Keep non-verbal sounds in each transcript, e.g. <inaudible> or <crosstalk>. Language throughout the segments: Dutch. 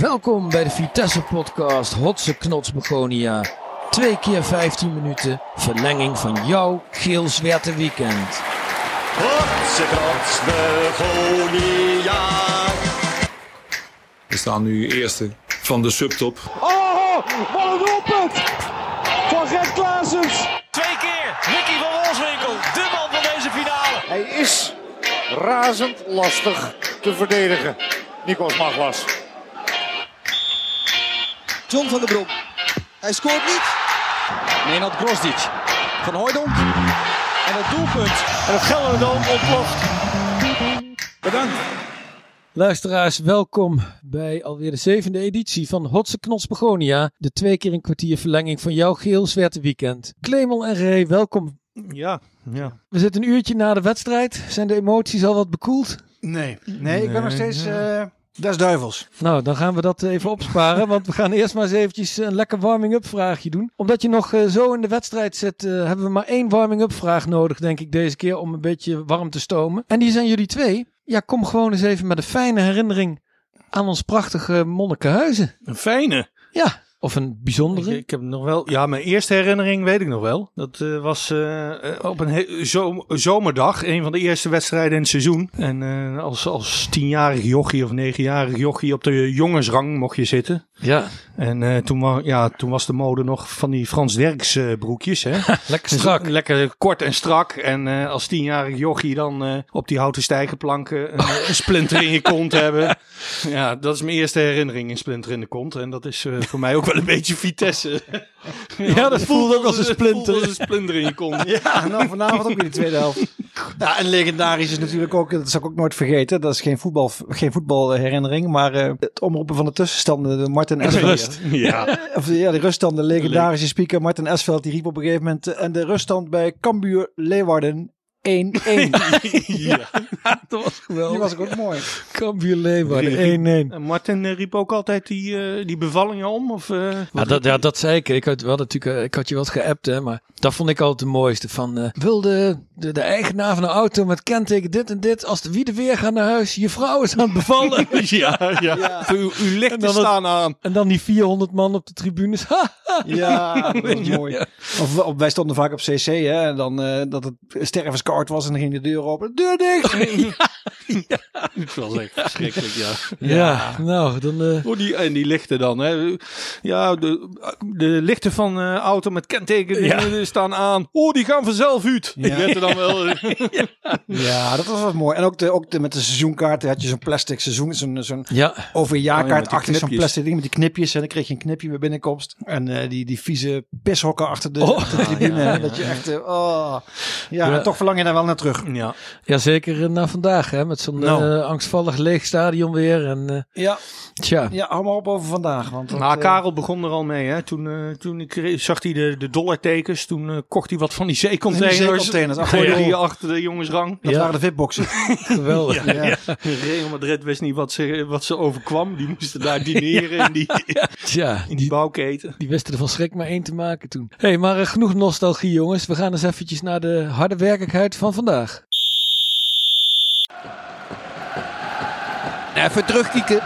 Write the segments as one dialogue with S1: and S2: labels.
S1: Welkom bij de Vitesse Podcast Hotse Knots Begonia. Twee keer 15 minuten verlenging van jouw geel zwerte weekend.
S2: Hotse knots Begonia.
S3: We staan nu eerste van de subtop.
S4: Oh, wat een doelpunt van Gert Klaasens.
S5: Twee keer Ricky van Wolfswinkel, de man van deze finale.
S6: Hij is razend lastig te verdedigen. Nikos Maglas.
S7: John van der Brom. Hij scoort niet.
S5: Nenad Grosdic van Hooydonk. En het doelpunt. En het Gelderdoom ontploft.
S1: Luisteraars, welkom bij alweer de zevende editie van Hotse Knots Begonia. De twee keer een kwartier verlenging van jouw geel zwerte weekend. Clemel en Ray, welkom.
S8: Ja, ja.
S1: We zitten een uurtje na de wedstrijd. Zijn de emoties al wat bekoeld?
S8: Nee. Nee,
S7: ik ben nog steeds... eh dat is duivels.
S1: Nou, dan gaan we dat even opsparen, want we gaan eerst maar eens eventjes een lekker warming-up vraagje doen. Omdat je nog eh, zo in de wedstrijd zit, eh, hebben we maar één warming-up vraag nodig, denk ik, deze keer om een beetje warm te stomen. En die zijn jullie twee. Ja, kom gewoon eens even met een fijne herinnering aan ons prachtige Monnikenhuizen.
S8: Een fijne.
S1: Ja, of een
S8: Ik,
S1: bijzondere.
S8: ik heb nog wel... Ja, mijn eerste herinnering weet ik nog wel. Dat eh, was eh, eh, op een he- zo- zomerdag. Een van de eerste wedstrijden in het seizoen. En eh, als, als tienjarig jochie of negenjarig jochie op de jongensrang mocht je zitten.
S1: Ja,
S8: En eh, toen, wa- ja, toen was de mode nog van die Frans Derks eh, broekjes. Hè?
S1: lekker
S8: Dus
S1: strak.
S8: Lekker kort en strak. En eh, als tienjarig jochie dan eh, op die houten stijgerplanken een, eh, een splinter in je
S1: <laughs>
S8: kont hebben. Ja, dat is mijn eerste herinnering, een splinter in de kont. En dat is eh, voor mij ook wel een beetje Vitesse.
S1: <laughs> Ja, dat voelt ook als een
S8: Voelt
S1: splinter.
S8: als een splinter in je kont.
S1: <laughs>
S7: En dan vanavond ook weer de tweede helft. <laughs> Ja, en legendarisch is natuurlijk ook, dat zal ik ook nooit vergeten, dat is geen, voetbal, geen voetbalherinnering, maar eh, het omroepen van de tussenstanden, de <laughs> Martin Esveld.
S8: Ja.
S7: <laughs> Of de- ja, de ruststand, de legendarische speaker Martin Esveld, die riep op een gegeven moment, eh, en de ruststand bij Cambuur Leeuwarden <laughs> 1-1.
S1: Dat was
S7: Die was
S1: geweldig.
S7: ook, ook mooi.
S1: Cambuur Leeuwarden, 1-1.
S8: En Martin eh, riep ook altijd die, eh, die bevallingen om. Of, eh,
S1: Ja,
S8: wat-
S1: dat, ja, dat zei ik. Ik had, wel natuurlijk, eh, ik had je wat geappt, hè, maar dat vond ik altijd het mooiste. Van, eh, wil de, de, de eigenaar van een auto met kenteken dit en dit, als de wieden weer gaan naar huis, je vrouw is aan het bevallen.
S8: ja, ja. Voor Uw, uw lichten
S1: En dan het-
S8: staan aan.
S1: <laughs> en dan die 400 man op de tribunes. Ha!
S8: <laughs>
S7: Ja, dat was mooi. Of, of wij stonden vaak op CC, hè, en dan eh, dat het stervenskart was en dan ging de deur open. Deur
S8: <laughs>
S7: dicht!
S8: Het was echt verschrikkelijk, ja.
S1: Ja, nou, dan... eh,
S8: Oh, die, en die lichten dan. Hè. Ja, de, de lichten van eh, auto met kenteken die
S1: Ja.
S8: staan aan. Oh, die gaan vanzelf uit. Die werd er dan wel. eh, <laughs>
S7: Ja, dat was wat mooi. En ook, de, ook de, met de seizoenkaarten had je zo'n plastic seizoen, zo'n zo'n
S1: ja,
S8: Oh ja, met
S7: overjaarkaart
S8: die
S7: achter zo'n
S8: knipjes.
S7: plastic ding met die knipjes. En dan kreeg je een knipje bij binnenkomst. En eh, die, die vieze pishokken achter de,
S8: Oh.
S7: achter de
S8: <laughs>
S7: tribune. hè, Dat je echt, eh, oh. Ja,
S1: Ja.
S7: en toch verlang je daar wel naar terug.
S8: ja.
S1: ja, zeker eh, na vandaag, hè, met zo'n
S8: Nou.
S1: eh, angstvallig leeg stadion weer. En, eh,
S7: Ja,
S1: tja,
S7: ja hou maar op over vandaag. Want dat,
S8: Maar
S7: eh,
S8: Nou, Karel begon er al mee. Hè. Toen, eh, toen ik re- zag hij de, de dollartekens. Toen eh, kocht hij wat van die zeecontainers.
S7: Van die zeecontainers, achter
S8: Gooide
S7: de goal.
S8: die achter de jongensrang.
S7: dat
S1: Ja.
S7: waren de vipboxen.
S1: geweldig.
S7: Ja.
S8: <laughs> Real Madrid wist niet wat ze, wat ze overkwam. Die moesten <laughs> daar dineren in, die,
S1: Tja,
S8: in die bouwketen.
S1: Die wisten er van schrik maar één te maken toen. Hé, hey, maar eh, genoeg nostalgie jongens. We gaan eens eventjes naar de harde werkelijkheid van vandaag.
S7: Even terugkieken.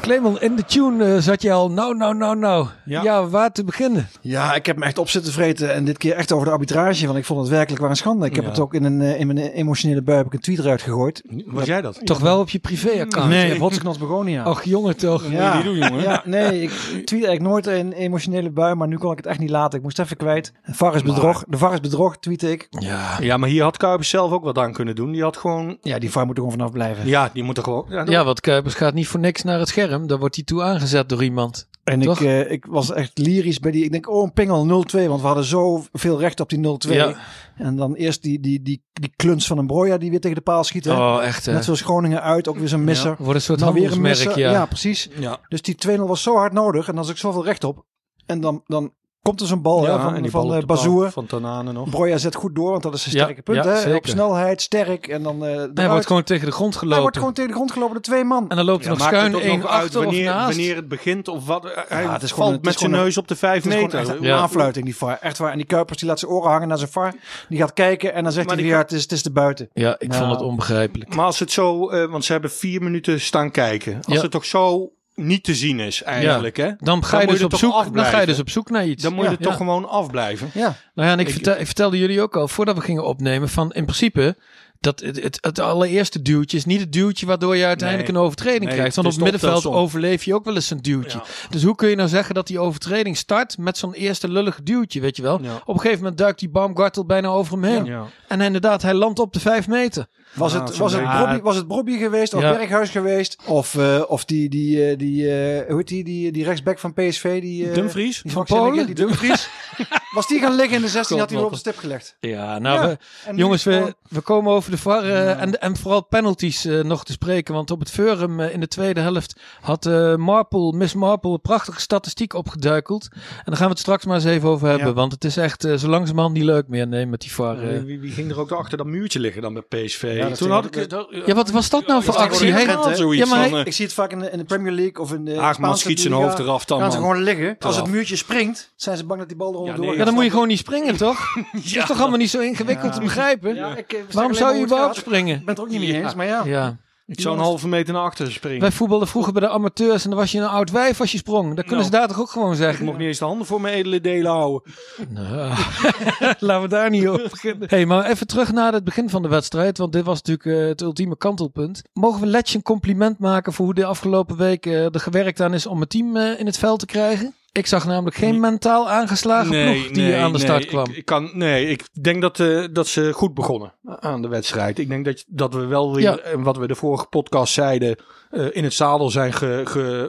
S1: Clemon, in de tune eh, zat je al nou, nou, nou, nou. Ja.
S8: Ja.
S1: waar te beginnen?
S7: Ja, ik heb me echt op zitten vreten. En dit keer echt over de arbitrage. Want ik vond het werkelijk waar een schande. Ik heb
S8: Ja.
S7: het ook in, een, eh, in mijn emotionele bui heb ik een tweet eruit gegooid.
S8: Was jij dat?
S1: Toch wel op je privéaccount?
S7: Nee. Hotsknots Begonia.
S1: Och jongen toch.
S7: Ja.
S8: Oh, Moet je niet doen, jongen.
S7: Ja, nee, ik tweet eigenlijk nooit een emotionele bui, maar nu kon ik het echt niet laten. Ik moest even kwijt. VAR is bedrog, de VAR is bedrog, tweet ik.
S1: Ja.
S8: Ja, maar hier had Kuipers zelf ook wat aan kunnen doen. Die had gewoon...
S7: Ja, die VAR moet er gewoon vanaf blijven.
S8: Ja, die moet er gewoon...
S1: Ja, want Kuipers gaat niet voor niks naar het scherm. Daar wordt hij toe aangezet door iemand.
S7: en ik,
S1: toch?
S7: eh, ik was echt lyrisch bij die. Ik denk, oh, een pingel 0-2, want we hadden zoveel recht op die 0-2.
S1: Ja.
S7: En dan eerst die, die, die, die kluns van een broja die weer tegen de paal schiet. hè.
S1: Oh, echt hè.
S7: Net zoals Groningen uit, ook weer zo'n misser.
S1: Wordt een soort
S7: Dan weer een
S1: handelsmerk, ja.
S7: misser. ja, precies.
S8: Ja.
S7: Dus die 2-0 was zo hard nodig en dan had ik zoveel recht op. En dan, dan komt er zo'n bal hè, van,
S8: die bal
S7: van
S8: op
S7: eh,
S8: de paal
S7: Bazoer.
S8: Van Tanane nog.
S7: Broja zet goed door, want dat is zijn
S1: Ja,
S7: sterke punt.
S1: ja,
S7: hè? Op
S1: zeker.
S7: snelheid, sterk. En dan, eh
S1: Hij
S7: eruit.
S1: wordt gewoon tegen de grond gelopen.
S7: hij wordt gewoon tegen de grond gelopen door twee man.
S1: En dan loopt hij nog
S8: maakt
S1: schuin
S8: het ook
S1: één
S8: nog uit
S1: achter
S8: wanneer,
S1: of naast.
S8: wanneer het begint of wat. Hij
S7: het is gewoon- het
S8: valt
S7: is
S8: met zijn
S7: gewoon een-
S8: neus op de vijf
S7: Het is gewoon
S8: meter.
S7: echt een
S1: Ja.
S7: aanfluiting, die VAR. Echt waar. En die Kuipers die laat zijn oren hangen naar zijn VAR. Die gaat kijken en dan zegt
S8: Maar
S7: hij
S8: die
S7: weer, ja, het is, het is de buiten.
S1: Ja, ik
S7: Nou.
S1: vond het onbegrijpelijk.
S8: Maar als het zo, eh, want ze hebben vier minuten staan kijken. Als
S1: Ja.
S8: het toch zo niet te zien is eigenlijk, hè?
S1: Dan ga je,
S8: moet
S1: dus op
S8: toch
S1: zoek, dan
S8: afblijven.
S1: ga je dus op zoek naar iets.
S8: Dan moet je
S1: Ja,
S8: er toch
S1: ja.
S8: gewoon afblijven.
S7: Ja,
S1: Nou ja, en ik, vertel- ik vertelde jullie ook al, voordat we gingen opnemen, van in principe dat het, het, het allereerste duwtje is niet het duwtje waardoor je uiteindelijk
S8: Nee.
S1: een overtreding
S8: Nee,
S1: krijgt.
S8: het
S1: Want op
S8: is
S1: het
S8: de
S1: middenveld
S8: optelsom.
S1: overleef je ook wel eens een duwtje. Dus hoe kun je nou zeggen dat die overtreding start met zo'n eerste lullig duwtje, weet je wel?
S8: Ja.
S1: Op een gegeven moment duikt die Baumgartel bijna over hem heen.
S8: Ja.
S1: En inderdaad, hij landt op de vijf meter.
S7: was
S8: Ah,
S7: het,
S8: zo'n
S7: was het,
S8: beetje.
S7: Brobbey- was het Brobbey geweest of
S1: Ja.
S7: Berghuis geweest? Of, eh, of die, die, eh, die, eh, hoe heet die, die, die rechtsback van PSV? Die, eh,
S8: Dumfries?
S7: Die
S1: Van
S7: krankzinnige,
S1: Polen?
S7: Die Dumfries. <laughs> was die gaan liggen in de 16, had hij hem op de
S1: Godlotte.
S7: stip gelegd.
S1: Ja, nou,
S7: Ja,
S1: we-
S7: en nu
S1: jongens,
S7: is het
S1: we, we komen over de VAR eh, en, en vooral penalties eh, nog te spreken. Want op het Forum eh, in de tweede helft had eh, Marple, Miss Marple, een prachtige statistiek opgeduikeld. En daar gaan we het straks maar eens even over hebben.
S8: Ja.
S1: Want het is echt eh, zo langzamerhand niet leuk meer nee, met die VAR. eh.
S8: Wie, wie ging er ook achter dat muurtje liggen dan met PSV?
S7: dat
S8: Toen
S7: ging
S8: had
S7: ook
S8: ik... eh, dat-
S1: Ja, wat was dat nou voor
S8: dat is
S1: actie?
S8: helemaal
S1: Hij-
S8: zoiets
S1: ja, maar
S8: van,
S1: hij-
S8: eh,
S7: Ik zie het vaak in de, in de Premier League of in de
S8: Haagman
S7: Spaanse
S8: schiet zijn
S7: Liga.
S8: hoofd eraf dan,
S7: Gaan ze
S8: man.
S7: gewoon liggen. Als het
S8: Eraf.
S7: muurtje springt, zijn ze bang dat die bal eronder
S8: Ja,
S7: doorgaat.
S8: nee,
S1: ja, dan moet je gewoon niet springen, toch? Het is toch allemaal niet zo ingewikkeld
S7: Ja.
S1: te begrijpen?
S7: Ja, ik, eh, versta
S1: Waarom
S7: alleen
S1: zou je
S7: maar hoe het
S1: überhaupt
S7: gaat.
S1: springen?
S7: Ik ben het er ook niet mee
S8: Ja.
S7: eens, maar ja.
S1: Ja.
S8: Ik zou een halve meter naar achteren springen.
S1: Wij voetbalden vroeger bij de amateurs en dan was je een oud wijf als je sprong. Dat kunnen
S8: Nou.
S1: ze daar toch ook gewoon
S8: Ik
S1: zeggen?
S8: mocht niet eens de handen voor mijn edele delen houden.
S1: Nou, <laughs> laten we daar niet over beginnen. Hey, maar even terug naar het begin van de wedstrijd, want dit was natuurlijk eh, het ultieme kantelpunt. Mogen we Letje een compliment maken voor hoe de afgelopen week eh, er gewerkt aan is om het team eh, in het veld te krijgen? Ik zag namelijk geen mentaal aangeslagen ploeg die aan de
S8: nee,
S1: start
S8: ik-
S1: kwam.
S8: Ik, kan, nee, ik denk dat, eh, dat ze goed begonnen aan de wedstrijd. Ik denk dat, dat we wel weer,
S1: Ja.
S8: en wat we de vorige podcast zeiden, eh, in het zadel zijn ge, ge-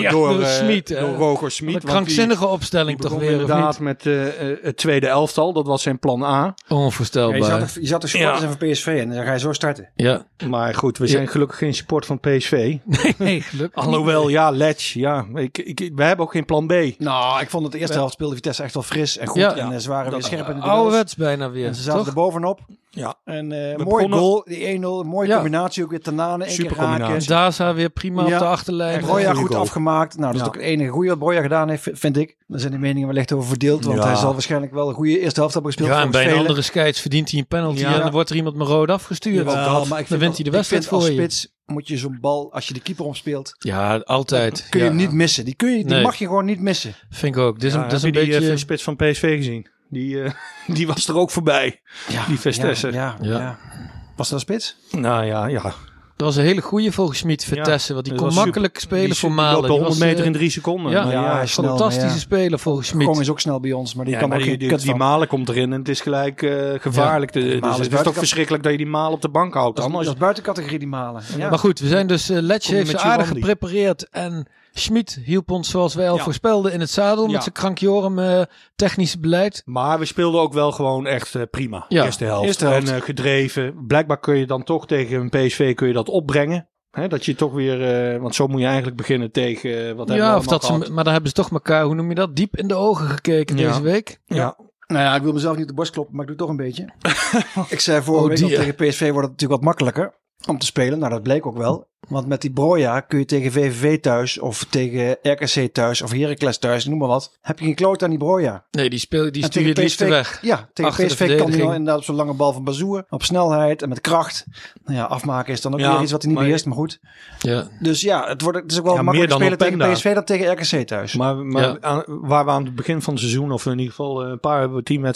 S1: <laughs> Ja,
S8: door,
S1: door
S8: eh,
S1: Smit, hè.
S8: door Roger
S1: Wat
S8: Smit.
S1: een
S8: want die-
S1: krankzinnige opstelling
S8: die begon
S1: toch weer, of
S8: inderdaad
S1: niet?
S8: met eh, eh, het tweede elftal. Dat was zijn plan A.
S7: Ja, je,
S1: Onvoorstelbaar.
S7: zat, er- je zat de supporters zijn van PSV en dan ga je zo starten.
S8: <laughs>
S1: Ja,
S8: Maar goed, we zijn gelukkig geen support
S1: <laughs>
S8: van PSV.
S1: nee, gelukkig.
S8: Alhoewel, ja, Letch. Ja, ik, ik, we hebben ook geen plan B.
S7: Nou, ik vond het de eerste helft speelde Vitesse echt wel fris en goed.
S1: Ja.
S7: en eh, ze waren weer scherp in de duels.
S1: Ouderwets bijna weer,
S7: En ze zaten
S1: toch?
S7: er bovenop.
S8: Ja.
S7: En eh mooi
S8: begonnen-
S7: goal, die 1-0. een Mooie
S1: Ja.
S7: combinatie ook weer Tanane. één keer
S8: Super
S7: raken.
S8: combinatie.
S1: Daza weer prima
S7: Ja.
S1: op de achterlijn.
S7: En Broja
S8: Goeie
S7: goed
S8: goal.
S7: afgemaakt. Nou,
S8: Ja.
S7: dat is ook het enige goede wat Broja gedaan heeft, v- vind ik. Daar zijn de meningen wellicht over verdeeld. Want
S8: Ja.
S7: hij zal waarschijnlijk wel een goede eerste helft hebben gespeeld.
S1: Ja, en
S7: volgens
S1: bij een
S7: velen.
S1: andere scheids verdient hij een penalty
S8: Ja.
S1: en dan wordt er iemand met rood afgestuurd.
S7: Jawel,
S1: Dat-
S7: maar ik
S1: dan
S7: vind
S1: wint
S7: al-
S1: hij de
S7: ik
S1: wedstrijd
S7: vind
S1: voor
S7: als
S1: je.
S7: spits moet je zo'n bal, als je de keeper omspeelt,
S1: Ja, altijd.
S7: kun je
S1: Ja,
S7: hem niet missen. Die, kun je, die
S1: Nee.
S7: mag je gewoon niet missen.
S1: Vind ik ook. Dit is, een-
S8: Ja,
S1: dit is
S8: heb je
S1: een
S8: die eh,
S1: beetje...
S8: spits van PSV gezien? Die, eh, <laughs> die was er ook voorbij. die Vestesse.
S7: Ja, ja,
S1: Ja.
S7: ja. Was dat een spits?
S8: Nou ja, ja.
S1: Dat was een hele goede volgens Smit, Vitesse. want die
S8: dat
S1: kon
S8: was
S1: makkelijk spelen
S8: Dus Die
S1: voor
S8: loopt
S1: Malen.
S8: de
S1: Die
S8: 100
S1: was,
S8: meter
S1: eh,
S8: in drie seconden. Nou
S1: Ja,
S8: Maar
S7: ja, hij
S1: ja,
S7: is snel,
S1: fantastische
S7: maar ja.
S1: speler volgens
S7: Kong
S1: Smit.
S7: is ook snel bij ons, maar die
S8: Ja,
S7: kan
S8: maar
S7: ook
S8: die,
S7: geen
S8: die,
S7: kut
S8: die
S7: van.
S8: malen komt erin en het is gelijk eh, gevaarlijk. De- dus
S7: is
S8: het is toch
S7: buitenkant.
S8: verschrikkelijk dat je die malen op de bank houdt.
S7: Dat is,
S8: Dan, als
S7: dat is buiten categorie die malen. Ja.
S1: Maar goed, we zijn dus... eh Letje
S8: Kom je
S1: heeft ze
S8: met
S1: aardig
S8: Giovanni?
S1: geprepareerd. En Schmid hielp ons, zoals wij al
S8: Ja.
S1: voorspelden, in het zadel.
S8: Ja.
S1: Met zijn krankjorum eh technisch beleid.
S8: Maar we speelden ook wel gewoon echt eh, prima.
S1: Ja,
S8: Eerste helft.
S7: eerste helft.
S8: En eh, gedreven. Blijkbaar kun je dan toch tegen een PSV kun je dat opbrengen. Hè, dat je toch weer... eh, want zo moet je eigenlijk beginnen tegen... eh, wat hebben we
S1: Ja, of
S8: allemaal
S1: dat ze,
S8: gehad.
S1: maar daar hebben ze toch elkaar, hoe noem je dat, diep in de ogen gekeken
S8: Ja.
S1: deze week.
S8: Ja.
S7: Nou ja, ik wil mezelf niet op de borst kloppen, maar ik doe het toch een beetje.
S1: <laughs>
S7: ik zei
S1: Oh,
S7: vorige week al,
S1: die,
S7: tegen PSV wordt het natuurlijk wat makkelijker om te spelen. Nou, dat bleek ook wel. Want met die Broja kun je tegen VVV thuis of tegen RKC thuis of Heracles thuis, noem maar wat. Heb je geen kloot aan die Broja.
S1: Nee, die, speel, die
S7: En
S1: stuur je het
S7: tegen
S1: liefst
S7: PSV
S1: weg.
S7: Ja, tegen
S1: Achter de
S7: PSV kan hij
S1: verdediging.
S7: wel inderdaad op zo'n lange bal van Bazoer. Op snelheid en met kracht. Nou ja, afmaken is dan ook
S8: Ja,
S7: weer iets wat hij niet
S8: maar-
S7: beheerst, maar goed.
S1: Ja.
S7: Dus ja, het, wordt, het is ook wel
S8: Ja,
S7: makkelijker
S8: meer dan
S7: spelen tegen
S8: Openda.
S7: PSV dan tegen RKC thuis.
S8: Maar, maar
S1: Ja.
S8: aan- waar we aan het begin van het seizoen, of in ieder geval eh, een paar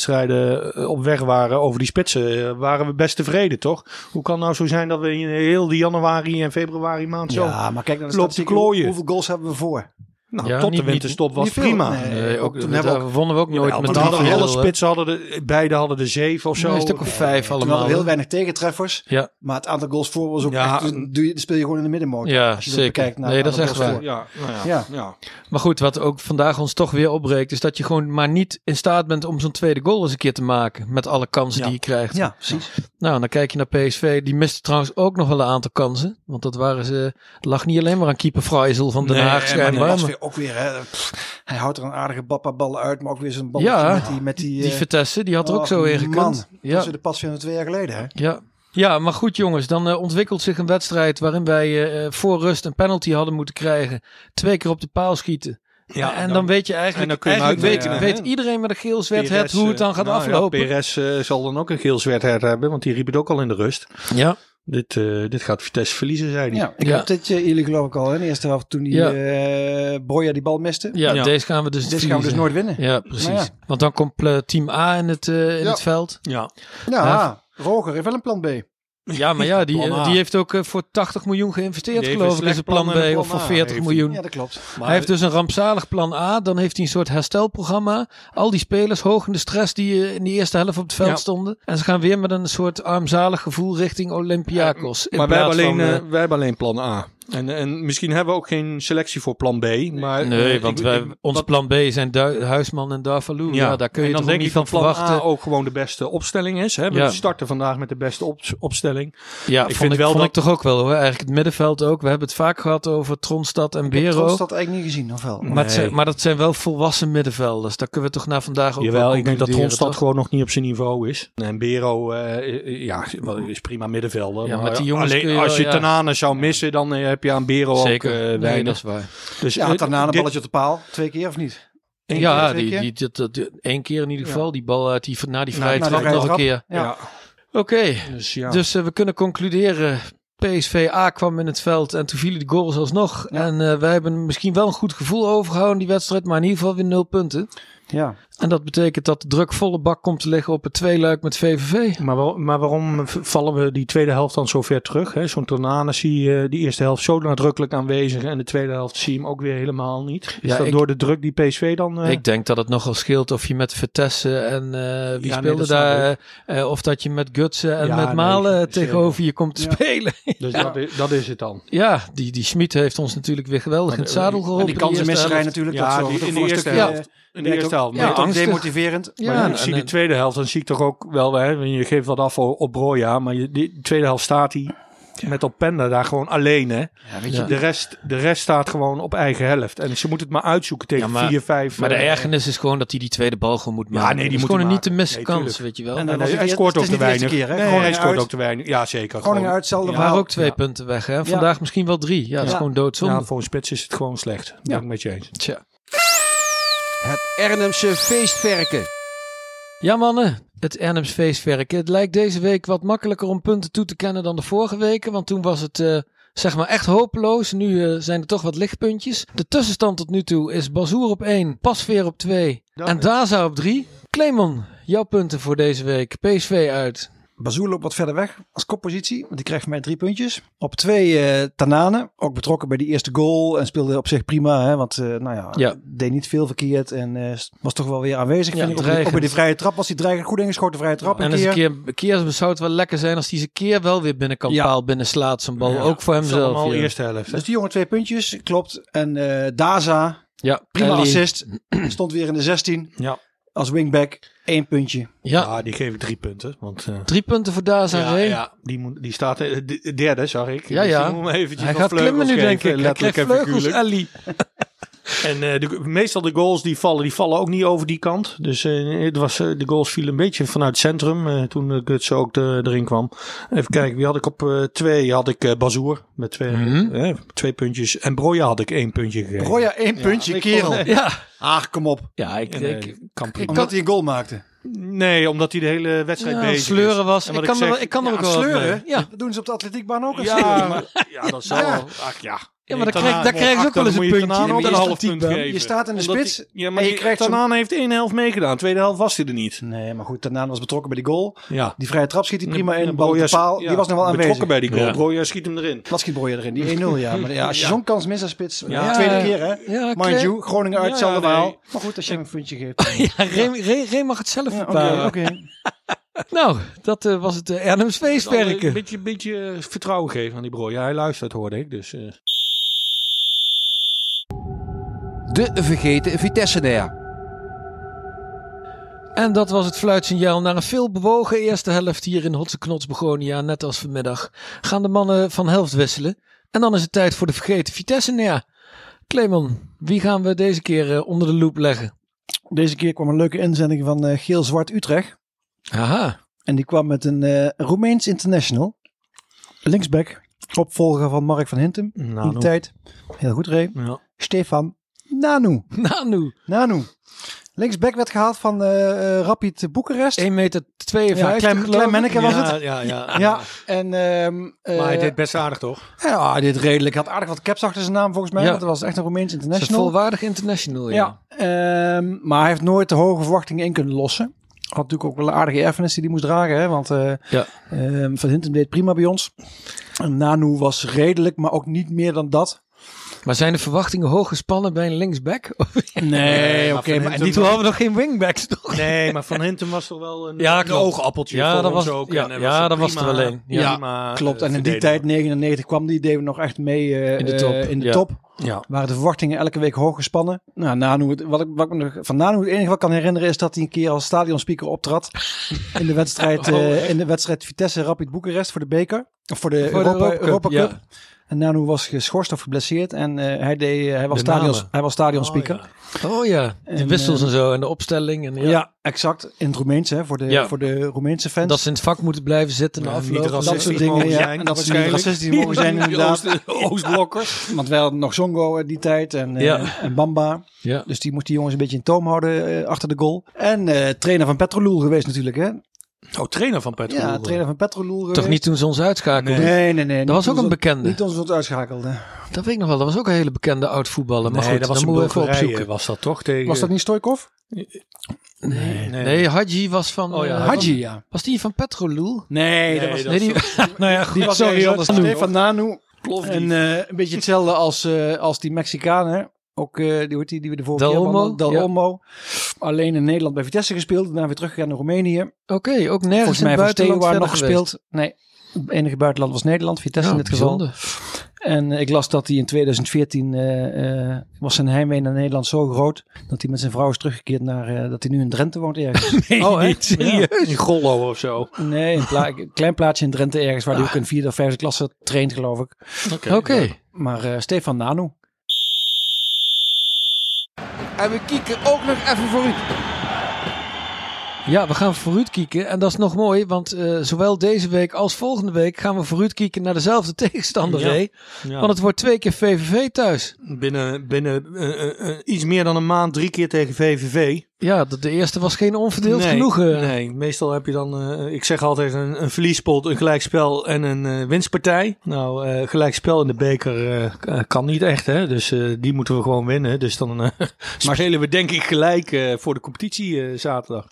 S8: teamwedstrijden eh, op weg waren over die spitsen, eh, waren we best tevreden, toch? Hoe kan nou zo zijn dat we in heel die januari en februari maand zo...
S7: ja, maar kijk naar de
S8: Loopt te
S7: statistieken.
S8: klooien.
S7: Hoeveel goals hebben we voor?
S8: nou,
S1: Ja,
S8: tot
S1: niet-
S8: de winterstop was
S7: niet veel.
S8: prima.
S7: Nee,
S1: Nee, ook,
S7: ook toen
S1: daar
S7: hebben we ook-
S1: wonnen we ook nooit
S8: Ja,
S1: met eh,
S8: want hadden we
S1: drie
S8: alle
S1: nul, hè.
S8: spitsen hadden de, beide hadden de zeven of zo.
S1: Een stuk of vijf
S7: Toen hadden
S1: allemaal.
S7: we heel
S1: hè.
S7: weinig tegentreffers.
S1: Ja.
S7: Maar het aantal goals voor was ook
S8: Ja.
S7: echt, dus doe je, dan speel je gewoon in de middenmoot.
S1: Ja,
S7: als je dat
S1: zeker.
S7: bekijkt naar-
S1: nee, dat is
S7: naar
S1: echt
S7: de
S1: waar.
S7: goals
S8: ja, nou ja,
S7: Ja.
S8: ja.
S1: Maar goed, wat ook vandaag ons toch weer opbreekt, is dat je gewoon maar niet in staat bent om zo'n tweede goal eens een keer te maken. Met alle kansen
S8: Ja.
S1: die je krijgt.
S7: Ja, precies.
S1: Nou, en dan kijk je naar PSV. Die miste trouwens ook nog wel een aantal kansen. Want dat waren ze. Het lag niet alleen maar aan keeper Freisel van Den
S8: Nee,
S1: Haag
S8: maar
S1: schijnbaar.
S7: Dat was
S1: maar-
S7: weer ook weer, hè, pff, Hij houdt er een aardige bappaballen uit, maar ook weer zo'n balletje
S1: Ja,
S7: met die... Met die,
S1: Die
S7: eh,
S1: Vitesse, die had er ook
S7: oh,
S1: zo weer
S7: Man,
S1: gekund.
S7: dat is
S1: Ja,
S7: weer de pas van twee jaar geleden, hè?
S1: ja. ja, maar goed jongens, dan eh, ontwikkelt zich een wedstrijd waarin wij eh, eh, voor rust een penalty hadden moeten krijgen. Twee keer op de paal schieten.
S8: Ja,
S1: en dan, weet je eigenlijk,
S8: en dan kun je hem
S1: eigenlijk weet,
S8: uitnemen,
S1: weet
S8: hè?
S1: iedereen met een geel zwart
S8: Perez,
S1: het hoe het dan
S8: eh,
S1: gaat
S8: nou ja,
S1: aflopen.
S8: Perez eh, zal dan ook een geel zwetheid hebben, want die riep het ook al in de rust.
S1: ja.
S8: Dit, eh, dit gaat Vitesse verliezen, zei hij.
S7: Ja, ik
S1: Ja.
S7: heb dit eh, jullie geloof ik al in de eerste helft toen die
S1: Ja.
S7: eh, Boya die bal miste.
S1: Ja,
S8: Ja.
S1: deze gaan we dus
S7: Dit gaan we dus
S1: verliezen.
S7: nooit winnen.
S1: Ja, precies.
S7: Maar ja.
S1: Want dan komt eh, team A in het, eh, in
S6: Ja.
S1: het veld.
S8: Ja.
S7: Ja,
S1: Ja.
S7: Roger heeft wel een plan B.
S1: Ja, maar ja, die,
S8: Plan
S1: eh,
S8: A.
S1: die heeft ook eh, voor 80 miljoen geïnvesteerd,
S8: Die heeft
S1: geloof
S8: een
S1: ik, is het
S8: slecht
S1: plan
S8: plan en
S1: B.
S8: een
S1: Of
S8: plan
S1: voor
S8: A
S1: 40
S8: heeft
S1: miljoen.
S7: Ja, dat klopt.
S8: Maar
S1: hij heeft dus een rampzalig plan A. Dan heeft hij een soort herstelprogramma. Al die spelers hoog in de stress die eh, in die eerste helft op het veld
S8: Ja.
S1: stonden. En ze gaan weer met een soort armzalig gevoel richting Olympiakos. In
S8: maar wij hebben,
S1: plaats
S8: alleen,
S1: van,
S8: eh,
S1: eh,
S8: wij hebben alleen plan A. En, en misschien hebben we ook geen selectie voor plan B. Maar,
S1: nee,
S8: eh,
S1: want
S8: ik-
S1: wij,
S8: ik-
S1: ons
S8: dat-
S1: plan B zijn Du- Huisman en Darvalu. Ja. daar kun je
S8: en
S1: toch
S8: dan
S1: ook
S8: denk
S1: niet
S8: ik
S1: van
S8: dat plan
S1: verwachten.
S8: A ook gewoon de beste opstelling is. Hè? We
S1: Ja.
S8: starten vandaag met de beste op- opstelling.
S1: Ja,
S8: Ik
S1: vond,
S8: vind
S1: ik,
S8: wel
S1: vond
S8: dat-
S1: ik toch ook wel hoor. Eigenlijk het middenveld ook. We hebben het vaak gehad over Tronstad en Bero.
S7: Trots dat eigenlijk niet gezien, of wel?
S1: Maar, het
S8: Nee.
S1: zijn, maar dat zijn wel volwassen middenvelders. Daar kunnen we toch na vandaag ook
S8: Jawel,
S1: wel
S8: ik denk dat
S1: concluderen,
S8: Tronstad
S1: toch?
S8: gewoon nog niet op zijn niveau is. En Bero eh, eh, ja, wel, is prima middenvelder.
S1: Ja,
S8: maar
S1: met die jongens
S8: alleen
S1: kun je wel,
S8: als je
S1: ja.
S8: Tanane zou missen, dan eh, heb je aan Bero
S1: Zeker,
S8: ook eh,
S1: Nee,
S8: weinig.
S1: dat is waar.
S8: dus,
S7: Ja,
S8: eh,
S7: had daarna een
S8: dit-
S7: balletje op de paal. Twee keer of niet? Eén
S1: ja,
S7: keer, twee
S1: die,
S7: keer?
S1: die, dat- dat- die- één keer in ieder
S7: Ja.
S1: geval. Die bal uit die, na die
S7: Na
S1: vrije
S7: die
S1: trap
S7: vrije
S1: nog een
S7: trap.
S1: keer.
S7: Ja.
S8: Ja.
S1: Oké,
S8: Dus ja.
S1: dus eh, we kunnen concluderen. PSV A kwam in het veld en toen vielen de goals alsnog.
S7: Ja.
S1: En eh, wij hebben misschien wel een goed gevoel overgehouden in die wedstrijd. Maar in ieder geval weer nul punten.
S7: ja.
S1: En dat betekent dat de druk volle bak komt te liggen op het tweeluik met VVV.
S8: Maar, wel- maar waarom v- vallen we die tweede helft dan zo ver terug? hè? Zo'n Tonane zie je die eerste helft zo nadrukkelijk aanwezig en de tweede helft zie je hem ook weer helemaal niet. Is
S1: Ja,
S8: dat
S1: ik-
S8: door de druk die PSV dan... eh,
S1: Ik denk dat het nogal scheelt of je met Vitesse en eh, wie
S8: nee,
S1: speelde
S8: dat snap
S1: daar. eh, eh, of dat je met Gutsen en
S8: Ja,
S1: met
S8: nee,
S1: Malen
S8: zeker.
S1: tegenover je komt te spelen.
S8: dus Dat, is, dat is het dan.
S1: Ja, die, die Schmid heeft ons natuurlijk weer geweldig in het zadel geholpen.
S7: die
S1: de
S7: kansen
S1: eerste
S7: misrijden
S1: helft.
S7: natuurlijk.
S8: Ja,
S7: dat
S8: die-
S7: zorgt
S8: in
S7: ook
S8: de
S7: voor een
S8: eerste
S7: stukje,
S8: helft.
S7: eh,
S8: In de
S7: werkt
S8: eerste
S7: ook-
S8: helft.
S1: Ja,
S7: werkt ook
S1: angstig.
S7: demotiverend.
S1: Ja,
S8: maar nu,
S1: en-
S8: ik zie
S1: en-
S8: die tweede helft, dan zie ik toch ook wel, hè, want je geeft wat af op, op Broja, maar je, die tweede helft staat hij met Openda daar gewoon alleen. Hè.
S7: Ja, weet je,
S1: Ja.
S8: De, rest, de rest staat gewoon op eigen helft. En ze moeten het maar uitzoeken tegen
S1: Ja, maar-
S8: 4, 5.
S1: Maar de
S8: eh,
S1: ergernis is gewoon dat hij die tweede bal gewoon moet
S8: Ja,
S1: maken.
S8: nee, die
S1: Dat is
S8: moet
S1: gewoon
S8: hij
S1: een niet te
S8: maken.
S1: missen
S8: Nee,
S1: kans, weet
S8: tuurlijk.
S1: je wel.
S7: En
S1: En
S7: dan-
S8: En
S7: was
S8: hij,
S7: het
S8: hij
S7: niet-
S8: scoort
S7: het
S8: ook
S7: is
S8: te
S7: niet de eerste
S8: weinig.
S7: keer, hè?
S8: nee, hij
S7: Groningen
S8: scoort
S7: uit.
S8: ook te weinig. Ja, zeker.
S7: Groningen
S8: Gewoon-
S7: uit, hetzelfde
S1: er waren
S7: verhaal.
S1: ook twee punten weg, hè? Vandaag misschien wel drie. Ja, dat is
S7: Ja.
S1: gewoon doodzonde.
S8: eh, Ja, voor een spits is het gewoon slecht. Dat ben ik met je eens.
S1: Tja.
S9: Het Ernemse feestverken.
S1: Ja, mannen, het Ernems feestwerk. Het lijkt deze week wat makkelijker om punten toe te kennen dan de vorige weken. Want toen was het eh, zeg maar echt hopeloos. Nu eh, zijn er toch wat lichtpuntjes. De tussenstand tot nu toe is Bazoer op 1, Pasveer op 2 en Daza op 3. Clemon, jouw punten voor deze week. PSV uit.
S7: Bazoer loopt wat verder weg als koppositie, want die krijgt van mij drie puntjes. Op twee eh Tanane, ook betrokken bij die eerste goal en speelde op zich prima, hè, want eh, nou ja,
S1: Ja.
S7: deed niet veel verkeerd en eh, was toch wel weer aanwezig.
S1: Ja,
S7: vind ik. Ook, bij die-
S1: dreigend.
S7: ook bij die vrije trap was hij dreigend goed ingeschoten, vrije trap.
S1: en
S7: een
S1: eens
S7: keer.
S1: een keer, een keer zou het wel lekker zijn als hij zijn keer wel weer binnenkant
S7: Ja.
S1: paal binnenslaat. Zijn bal, ook voor
S8: Het is allemaal
S1: hemzelf. Ja,
S8: eerste helft. hè.
S7: Dus die jongen twee puntjes, klopt. En eh, Daza,
S1: ja
S7: prima
S1: Ellie.
S7: assist, <clears throat> stond weer in de 16
S8: Ja.
S7: als wingback, één puntje.
S1: Ja,
S8: Ja, die geef ik drie punten. Want, eh,
S1: drie punten voor Daza.
S8: ja,
S1: Ray.
S8: ja, die, moet, die staat eh, de- derde, zag ik.
S1: Ja,
S8: Dus
S1: ja.
S8: die moet hem eventjes
S1: Hij
S8: wat
S1: gaat klimmen
S8: vleugels
S1: nu,
S8: geven,
S1: denk ik. Hij
S8: Letterlijk
S1: krijgt
S8: en
S1: vleugels,
S8: figuurlijk.
S1: Ellie.
S8: <laughs> En eh, de, meestal de goals die vallen, die vallen ook niet over die kant. Dus eh, het was, eh, de goals vielen een beetje vanuit het centrum. eh, toen uh, Guts ook eh, erin kwam. Even kijken, wie had ik op eh, twee? Had ik eh Bazoer met twee,
S1: Mhm.
S8: eh, twee puntjes. En Broja had ik één puntje gegeven.
S7: Roya één puntje, kerel.
S1: Ja,
S7: Ach, kom op.
S1: ja ik,
S8: En,
S1: ik,
S8: eh, Kamp-
S1: ik
S7: Omdat
S1: kan-
S7: hij een goal maakte.
S8: Nee, omdat hij de hele wedstrijd
S1: Ja,
S8: bezig is.
S1: sleuren was.
S8: En
S1: Ik
S8: wat
S1: kan,
S8: zeg-
S1: er, ik kan er ook
S7: Ja,
S1: wel wat
S7: sleuren?
S1: mee. Ja.
S7: Dat doen ze op de atletiekbaan ook.
S8: Ja,
S7: Ja.
S8: maar- ja, dat zal wel. Ach ja.
S1: Ja, maar dan
S8: Tanaan
S1: krijg- daar
S8: wordt
S1: krijgen ze ook
S8: achter,
S1: wel eens een
S8: dan moet je
S1: puntje
S8: Tanaan
S1: in
S8: ook
S1: de
S8: een half
S1: atletiek
S8: punt
S1: dan.
S8: geven.
S7: Je staat in de
S8: Omdat
S7: spits
S8: die- ja,
S7: en
S8: maar
S7: je
S8: die-
S7: krijgt zo'n-
S8: Tanaan heeft één helft meegedaan. Tweede helft was hij er niet.
S7: Nee, maar goed, daarna was betrokken bij die goal.
S8: Ja.
S7: Die vrije trap schiet hij prima in.
S8: En
S7: De bal op de
S8: Broja-
S7: paal,
S8: ja,
S7: die was nog wel aanwezig.
S8: Betrokken bij die goal.
S1: Ja.
S8: Broja schiet hem erin.
S7: Wat schiet Breuer erin? Die 1-0, ja. Maar ja, als je zo'n kans mist als spits,
S8: Ja.
S7: de tweede keer hè.
S1: Ja,
S7: Mind
S1: Claire.
S7: you, Groningen uit,
S8: Ja,
S7: hetzelfde
S8: nee.
S7: verhaal. Maar goed, als je hem een puntje
S8: <laughs>
S7: geeft. dan- Eh,
S1: Ja, Ray, Ray- Ray mag het zelf
S7: Ja, Oké,
S1: bepalen.
S7: oké.
S1: Nou, dat eh, was het uh, Ernems
S8: Een
S1: feestwerken.
S8: beetje, beetje eh, vertrouwen geven aan die Broja. Hij luistert, hoorde ik. Dus, eh.
S9: De vergeten Vitesse-nair.
S1: En dat was het fluitsignaal naar een veel bewogen eerste helft hier in Hotse Knots Begonia. Net als vanmiddag gaan de mannen van helft wisselen. En dan is het tijd voor de vergeten Vitesse. Nou ja, Clemon, wie gaan we deze keer eh, onder de loep leggen?
S7: Deze keer kwam een leuke inzending van eh, Geel Zwart Utrecht.
S1: Haha,
S7: En die kwam met een eh, Roemeens international. Linksback. Opvolger van Mark van Hintem. In de
S8: Nou,
S7: tijd. Heel goed, Ray.
S8: ja.
S7: Stefan Nanu.
S1: Nanu,
S7: Nanu. Linksback werd gehaald van eh, eh, Rapid Boekarest.
S1: 1,52 meter.
S7: Ja, Clem, Clem Menneke was het.
S8: Ja, ja,
S7: Ja, en... ehm, eh,
S8: Maar hij deed best aardig, toch?
S7: Ja, hij deed redelijk. Hij had aardig wat caps achter zijn naam volgens mij.
S1: Ja.
S7: Want dat was echt een Roemeens
S1: Is het
S7: international.
S1: volwaardig international, ja.
S7: Ja, ehm, maar hij heeft nooit de hoge verwachtingen in kunnen lossen. Had natuurlijk ook wel een aardige erfenis die hij moest dragen. Hè? Want eh,
S1: Ja.
S7: ehm, Van Hintem deed prima bij ons. En Nanu was redelijk, maar ook niet meer dan dat.
S1: Maar zijn de verwachtingen hoog gespannen bij een linksback?
S7: Nee,
S8: maar Van
S1: en
S8: Hintem-
S1: die toen hadden we nog geen wingbacks, toch?
S8: Nee, maar Van Hintem was toch wel een,
S1: Ja,
S8: een
S1: klopt.
S8: oogappeltje
S1: Ja,
S8: voor
S1: dat
S8: ons
S1: was-
S8: ook.
S1: ja,
S8: en hij
S1: ja,
S8: een
S1: dat was er
S8: prima-
S1: wel een. Ja.
S8: prima,
S7: Klopt,
S8: eh,
S7: en in die tijd,
S8: verdediger.
S7: 99, kwam die deed nog echt mee eh,
S1: In de top,
S7: eh, in de
S1: ja.
S7: top.
S8: Ja.
S7: Waren de verwachtingen elke week hoog gespannen. Nou, Nanu, het- wat ik, wat ik me nog- van Nanu het enige wat ik kan herinneren is dat hij een keer als stadionspeaker optrad. In de
S1: <laughs>
S7: wedstrijd,
S1: Oh.
S7: eh, in de wedstrijd Vitesse Rapid Boekarest voor de beker. Of voor de,
S1: Voor de
S7: Europa, Europa
S1: Europa
S7: Cup.
S1: Cup, ja.
S7: En Nanu was geschorst of geblesseerd. En eh, hij, deed, eh, hij, was
S1: De
S7: stadions,
S1: namen.
S7: hij was stadionspeaker.
S8: Oh,
S1: Oh ja, de
S7: En,
S1: wissels
S7: eh,
S1: en zo en de opstelling. En, ja.
S7: ja. exact. In het Roemeens, hè, voor de,
S1: Ja.
S7: voor de Roemeense fans.
S1: Dat ze in het vak moeten blijven zitten
S8: Ja,
S1: na
S8: niet
S1: afloop.
S8: racistisch
S7: dat soort dingen.
S8: mogen
S7: Ja.
S8: zijn,
S7: En dat ze niet
S8: waarschijnlijk.
S7: racistisch mogen zijn inderdaad.
S8: Oost- Oostblokkers.
S7: <laughs> Want wij hadden nog Zongo eh, die tijd en, eh,
S1: Ja.
S7: en Bamba.
S1: Ja.
S7: Dus die moest die jongens een beetje in toom houden eh, achter de goal. En eh, trainer van Petrolul geweest natuurlijk, hè?
S8: Oh, trainer van Petrol.
S7: Ja, trainer van Petrolul geweest.
S1: Toch niet toen ze ons uitschakelden?
S7: Nee, nee, nee. niet
S1: Dat was ook
S7: ons
S1: een bekende.
S7: Niet ons wat uitschakelde.
S1: Dat weet ik nog wel. Dat was ook een hele bekende oud voetballer. Maar
S8: Nee,
S1: goed,
S8: dat was
S1: dan
S8: een
S1: moeten we even
S8: Bulgarije,
S1: opzoeken.
S8: Was dat toch tegen...
S7: Was dat niet Stoikov?
S8: Nee, nee.
S1: Nee, Haji was van...
S8: Oh ja,
S1: eh,
S7: Hadji, ja.
S1: Was die van Petrolul?
S7: Nee,
S8: dat was-
S1: Nee, die... nou ja, goed.
S7: die was
S1: sorry,
S7: sorry
S1: hoor.
S7: anders. Stefan Nanu.
S8: Plovdiv.
S1: <laughs>
S8: <laughs>
S7: En eh, een beetje hetzelfde als, eh, als die Mexicanen. Ook eh, die, hoort die, die we de vorige
S1: Del
S7: keer hadden.
S1: Olmo,
S7: Del
S1: ja.
S7: Olmo. Alleen in Nederland bij Vitesse gespeeld. Daarna weer teruggegaan naar Roemenië.
S1: <laughs> Oké, ook nergens
S7: Volgens
S1: in
S7: mij
S1: het
S7: van
S1: buitenland
S7: Steaua
S1: verder
S7: nog
S1: geweest.
S7: gespeeld. Nee, het enige buitenland was Nederland. Vitesse
S1: Ja,
S7: in dit geval.
S1: bijzonder.
S7: En eh, ik las dat hij in 2014 eh, eh, was zijn heimwee naar Nederland zo groot dat hij met zijn vrouw is teruggekeerd naar eh, dat hij nu in Drenthe woont ergens.
S1: <laughs> Oh,
S8: hè?
S1: echt? Serieus?
S8: In Gollo of zo.
S7: nee, een, pla- een klein plaatsje in Drenthe ergens
S1: Ah.
S7: waar hij ook in vierde of vijfde klasse traint, geloof ik.
S1: Oké.
S7: Maar eh, Stefan Nanu.
S9: En we kieken ook nog even vooruit.
S1: Ja, we gaan vooruit kijken. En dat is nog mooi, want eh, zowel deze week als volgende week gaan we vooruit kijken naar dezelfde <laughs> tegenstander.
S8: Ja.
S1: hè?
S8: Ja.
S1: Want het wordt twee keer VVV thuis.
S8: Binnen, binnen eh, eh, eh, iets meer dan een maand drie keer tegen VVV.
S1: Ja, dat de eerste was geen onverdeeld
S8: nee,
S1: genoegen.
S8: Nee, meestal heb je dan, eh, ik zeg altijd, een, een verliespot, een gelijkspel en een eh, winstpartij. Nou, eh, gelijkspel in de beker eh, k- eh, kan niet echt, hè. Dus eh, die moeten we gewoon winnen. Dus dan eh, <laughs> spelen we denk ik gelijk eh, voor de competitie eh, zaterdag.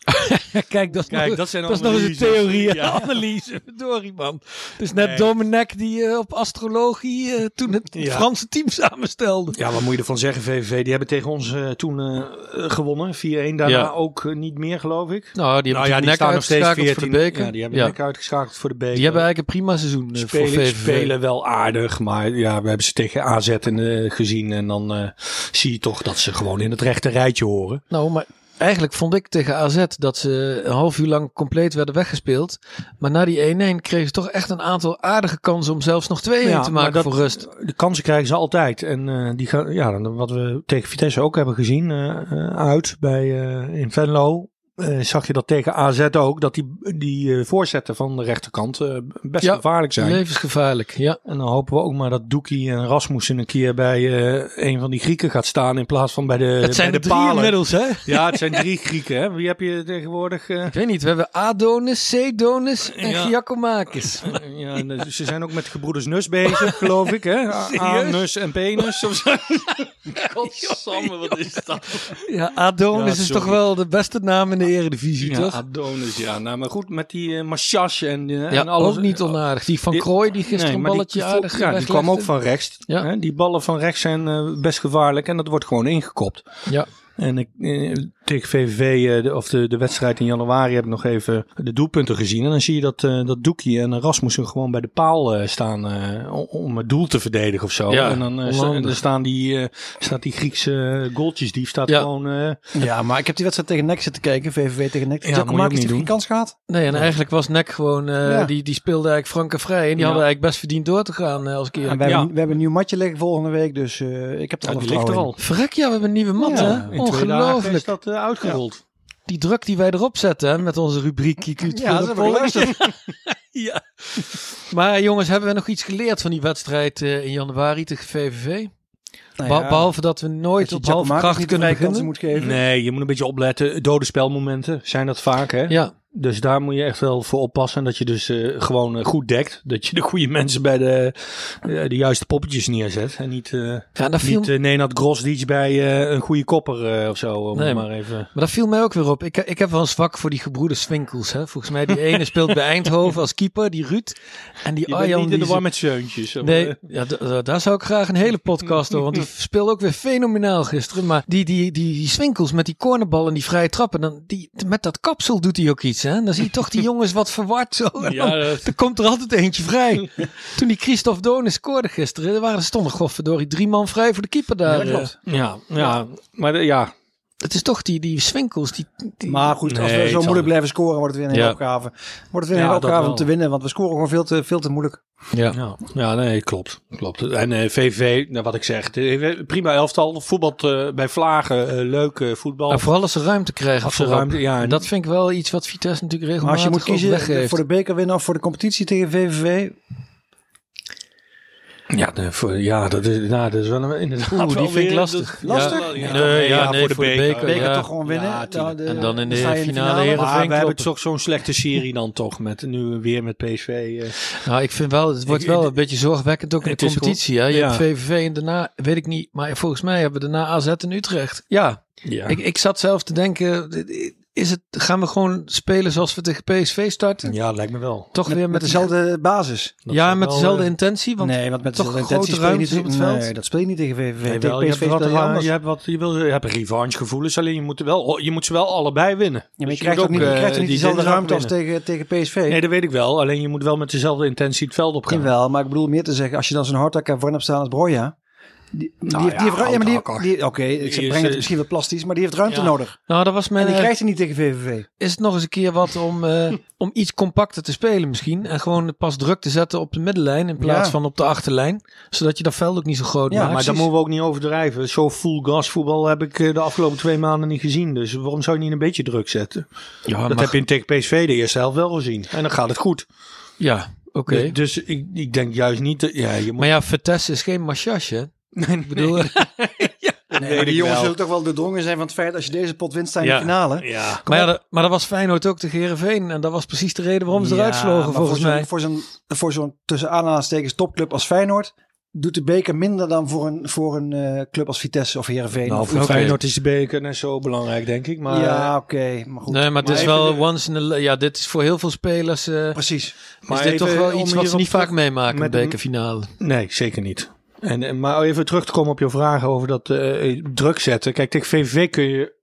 S1: Kijk, <laughs> dat is
S8: Kijk,
S1: nog,
S8: dat zijn
S1: dat is nog eens een
S8: analyses.
S1: theorie en
S8: Ja.
S1: analyse. Verdorie, man. Het is net
S8: Nee.
S1: Dominic die eh, op astrologie eh, toen het
S8: Ja.
S1: Franse team samenstelde.
S8: Ja, wat moet je ervan zeggen? VVV, die hebben tegen ons eh, toen eh, eh, gewonnen. 4-1, daarna
S1: Ja.
S8: ook eh, niet meer, geloof ik.
S1: Nou, die hebben natuurlijk nek uitgeschakeld voor de beker.
S8: Ja, die hebben nek uitgeschakeld voor de beker.
S1: Die hebben eigenlijk een prima seizoen eh, voor
S8: Spelen,
S1: VVV.
S8: spelen wel aardig, maar ja, we hebben ze tegen AZ en, eh, gezien. En dan eh, zie je toch dat ze gewoon in het rechte rijtje horen.
S1: Nou, maar eigenlijk vond ik tegen AZ dat ze een half uur lang compleet werden weggespeeld. Maar na die 1-1 kregen ze toch echt een aantal aardige kansen om zelfs nog 2-1
S8: Ja,
S1: te
S8: maar
S1: maken
S8: dat-
S1: voor rust.
S8: De kansen krijgen ze altijd. En eh, die gaan, ja, dan wat we tegen Vitesse ook hebben gezien eh, eh, uit bij, eh, in Venlo. eh, zag je dat tegen AZ ook, dat die, die eh, voorzetten van de rechterkant eh, best
S1: Ja,
S8: gevaarlijk zijn. Eh,
S1: Levensgevaarlijk, ja.
S8: En dan hopen we ook maar dat Doekie en Rasmussen een keer bij eh, een van die Grieken gaat staan in plaats van bij de,
S1: Het zijn
S8: bij
S1: de
S8: de
S1: drie
S8: palen.
S1: inmiddels, hè?
S8: Ja, het zijn drie Grieken. Hè? Wie heb je tegenwoordig? eh?
S1: Ik weet niet, we hebben Adonis, Cedonis en
S8: Ja.
S1: Giacomakis.
S8: Ja, en, eh, ze zijn ook met gebroeders Nus bezig, geloof ik. Hè? A- Anus en Penus. Of zo. Godsamme, wat is dat?
S1: Ja, Adonis
S8: Ja,
S1: is
S8: sorry.
S1: toch wel de beste naam in de eredivisie,
S8: Ja,
S1: toch?
S8: Adonis, ja. Nou, maar goed, met die eh Machas en, eh,
S1: Ja,
S8: en alles.
S1: ook niet onaardig. Die Van Krooi die gisteren
S8: Nee,
S1: een
S8: maar die-
S1: balletje
S8: die vo-
S1: aardig
S8: Ja, die kwam ook
S1: weglegde.
S8: van rechts.
S1: Ja.
S8: Hè? Die ballen van rechts zijn eh, best gevaarlijk en dat wordt gewoon ingekopt.
S1: Ja.
S8: En ik, eh, tegen VVV, eh, de, of de, de wedstrijd in januari, heb ik nog even de doelpunten gezien. En dan zie je dat, eh dat Doekie en Rasmussen gewoon bij de paal eh, staan eh, om- om het doel te verdedigen of zo.
S5: Ja,
S8: en dan, eh, sta-
S1: onhandig.
S8: en dan staan die, eh, staat die Griekse goaltjesdief staat
S5: Ja.
S8: gewoon... eh,
S7: Ja, maar ik heb die wedstrijd tegen NEC zitten kijken. VVV tegen NEC.
S8: Ja, moet
S7: Ja,
S8: je ook
S7: Giacomakis
S8: niet
S7: heeft geen
S8: doen.
S7: kans gehad.
S1: Nee, en eigenlijk was NEC gewoon, eh,
S7: Ja.
S1: die, die speelde eigenlijk franken vrij. En die hadden eigenlijk best verdiend door te gaan eh, als ik
S7: En
S1: eerlijk
S7: we,
S1: ben.
S7: hebben, we hebben een nieuw matje liggen volgende week. Dus eh, ik heb er
S8: ja,
S7: alle
S8: die ligt
S7: vertrouwen
S8: er
S7: in.
S8: al.
S1: Verrek, ja, we hebben een nieuwe mat,
S8: Oh, Ja,
S1: hè?
S8: in twee dagen is
S1: Ongelooflijk.
S8: dat eh, uitgerold.
S1: Die druk die wij erop zetten hè, met onze rubriek Kikuut
S7: Ja,
S1: voor
S7: dat
S1: de
S7: heb ik
S1: Pollen.
S7: geluisterd.
S1: Ja. Maar jongens, hebben we nog iets geleerd van die wedstrijd eh, in januari tegen VVV?
S7: Nou
S1: Be-
S7: ja,
S1: Behalve dat we nooit
S7: dat je
S1: op halve
S7: Giacomakis
S1: kracht
S7: niet de
S1: kunnen
S7: vrije kansen
S1: beginnen.
S7: moet geven.
S8: Nee, je moet een beetje opletten. Dode spelmomenten zijn dat vaak, hè?
S1: Ja,
S8: Dus daar moet je echt wel voor oppassen. Dat je dus eh, gewoon eh, goed dekt. Dat je de goede mensen bij de, eh, de juiste poppetjes neerzet. En niet, eh
S1: ja dat viel,
S8: niet eh, Nenad Grosdic bij eh, een goede kopper eh, of zo. Om
S1: Nee,
S8: maar even...
S1: Maar dat viel mij ook weer op. Ik, ik heb wel een zwak voor die gebroeders Winkels. Hè. Volgens mij die ene speelt bij Eindhoven als keeper, die Ruud. En die
S8: Je
S1: Arjan...
S8: bent niet in de
S1: die
S8: war
S1: ze-
S8: met zeuntjes. of, eh,
S1: <laughs> Nee, ja, d- d- daar zou ik graag een hele podcast over. Want
S8: <laughs>
S1: die speelde ook weer fenomenaal gisteren. Maar die, die, die, die Swinkels met die cornerbal en die vrije trappen. Dan, die, met dat kapsel doet hij ook iets. Hè? Dan zie je toch
S8: <laughs>
S1: die jongens wat verward zo. En
S5: Ja,
S1: <laughs> dan-
S5: dat-
S1: Er komt er altijd eentje
S8: <laughs>
S1: vrij. Toen die Christophe Donis scoorde gisteren. Er waren stonden godverdorie drie man vrij voor de keeper daar.
S7: dat klopt.
S1: eh.
S8: ja, ja, maar de- ja.
S1: Het is toch die, die Swinkels. Die, die,
S7: Maar goed, als
S8: Nee,
S7: we
S8: het
S7: zo
S8: zal-
S7: moeilijk blijven scoren, wordt het weer een hele
S5: Ja.
S7: opgave. Wordt het weer een
S8: Ja,
S7: hele
S8: dat
S7: opgave om
S8: wel.
S7: te winnen, want we scoren gewoon veel te, veel te moeilijk.
S1: ja.
S8: Ja, ja, nee, klopt. klopt. En eh, VVV, nou, wat ik zeg, eh, prima elftal. Voetbal bij Vlagen, eh, leuk eh, voetbal.
S1: Maar vooral als ze ruimte krijgen.
S8: Als ze
S1: voorop.
S8: ruimte- ja,
S1: En dat vind ik wel iets wat Vitesse natuurlijk
S7: Maar als
S1: regelmatig
S7: je moet
S1: ook
S7: kiezen
S1: weggeeft.
S7: voor de beker winnen of voor de competitie tegen VVV.
S8: Ja, de- voor, ja dat, is, nou, dat is wel een, inderdaad.
S1: Oeh, die
S8: wel
S1: vind ik
S8: weer-
S1: lastig.
S8: dat-
S7: Lastig?
S8: Ja,
S7: Nee,
S8: nee, ja,
S1: nee,
S8: voor de beker.
S7: Beker
S1: ja.
S7: toch gewoon winnen.
S8: Ja, tuurlijk.
S7: de-
S1: En dan in de
S7: sta je in
S1: finale, heren.
S8: Maar we
S1: Kloppen.
S8: hebben toch zo'n slechte serie dan toch. Met nu weer met PSV. eh.
S1: Nou, ik vind wel, het wordt
S8: Ik-
S1: wel
S8: ik-
S1: een beetje zorgwekkend ook in
S8: Het
S1: de
S8: is
S1: competitie. Hè? Je
S8: ja.
S1: hebt VVV en daarna, weet ik niet, maar volgens mij hebben we daarna AZ en Utrecht. Ja,
S8: ja.
S1: ik, ik zat zelf te denken, is het, gaan we gewoon spelen zoals we tegen PSV starten?
S8: ja, lijkt me wel.
S1: Toch
S7: Met,
S1: weer
S7: met, dezelfde basis.
S8: Dat
S1: ja,
S8: zou
S1: met
S8: wel,
S1: dezelfde
S8: eh,
S1: intentie. Want
S7: nee, want met
S1: toch
S7: dezelfde
S1: grote
S7: intentie speel je niet
S1: ruimtes op het
S7: nee,
S1: veld?
S7: dat speel je niet tegen VVV.
S8: Nee,
S7: tegen
S8: wel, je,
S7: PSV
S8: hebt wat,
S7: speel je
S8: ja,
S7: anders.
S8: je, hebt wat, je, wil, je hebt revanchegevoelens, alleen je moet, er wel, je moet ze wel allebei winnen.
S7: Ja, maar
S8: Dus
S7: je krijgt
S8: moet
S7: ook niet, je
S8: eh,
S7: krijgt er niet
S8: die
S7: dezelfde
S8: zin
S7: ruimte als
S8: winnen.
S7: tegen, tegen PSV.
S8: Nee, dat weet ik wel. Alleen je moet wel met dezelfde intentie het veld op gaan.
S7: Jawel, maar ik bedoel meer te zeggen, als je dan zo'n hardtak en voor hebt staan als Broja. Die, die, heeft- die
S8: Nou ja,
S7: heeft ru- ja, maar die,
S8: hardhakker.
S7: die- Oké, ik
S8: Die is,
S7: breng het
S8: eh,
S7: misschien wel plastisch, maar die heeft ruimte nodig.
S1: Nou, dat was
S7: En
S1: mijn...
S7: die
S1: eh,
S7: krijgt hij niet tegen VVV.
S1: is het nog eens een keer wat om,
S8: <laughs>
S1: eh, om iets compacter te spelen misschien. En gewoon pas druk te zetten op de middenlijn in plaats
S7: Ja.
S1: van op de achterlijn. Zodat je dat veld ook niet zo groot
S7: Ja,
S1: maakt.
S8: maar
S7: precies.
S8: dat moeten we ook niet overdrijven. Zo full gas voetbal heb ik eh, de afgelopen twee maanden niet gezien. Dus waarom zou je niet een beetje druk zetten?
S1: Ja,
S8: dat heb je in tegen PSV de eerste helft wel gezien. En dan gaat het goed.
S1: Ja, oké.
S8: Dus, dus ik, ik denk juist niet... dat- ja, je moet,
S1: Maar ja, Vitesse is geen machasje. hè? Ik bedoel, <laughs>
S8: weet
S7: maar die
S8: ik
S7: jongens
S8: wel.
S7: zullen toch wel doordrongen zijn van het feit als je deze pot wint, sta je in
S8: Ja.
S7: de finale.
S8: Ja.
S1: maar, ja, dat, maar dat was Feyenoord ook tegen Heerenveen. En dat was precies de reden waarom ze
S7: Ja,
S1: eruit vlogen,
S7: maar
S1: volgens
S7: voor zo'n-
S1: mij.
S7: Voor zo'n, voor zo'n tussen aanhalingstekens topclub als Feyenoord doet de beker minder dan voor een, voor een eh, club als Vitesse of Heerenveen.
S8: Nou,
S7: of,
S8: voor
S1: Oké.
S8: Feyenoord is de beker net zo belangrijk, denk ik. Maar,
S7: ja, oké, maar goed.
S1: eh, Nee, maar het is
S8: even
S1: wel
S8: de-
S1: once in a... li- Ja, dit is voor heel veel spelers... eh,
S7: Precies.
S8: maar
S1: is dit
S8: even
S1: toch wel iets
S8: om
S1: wat ze
S8: hierop
S1: niet
S8: terug-
S1: vaak meemaken in
S8: met
S1: de
S8: een-
S1: bekerfinale.
S8: Nee, zeker niet. En, en- maar even terug te komen op je vragen over dat eh, druk zetten. Kijk, tegen VVV kun je...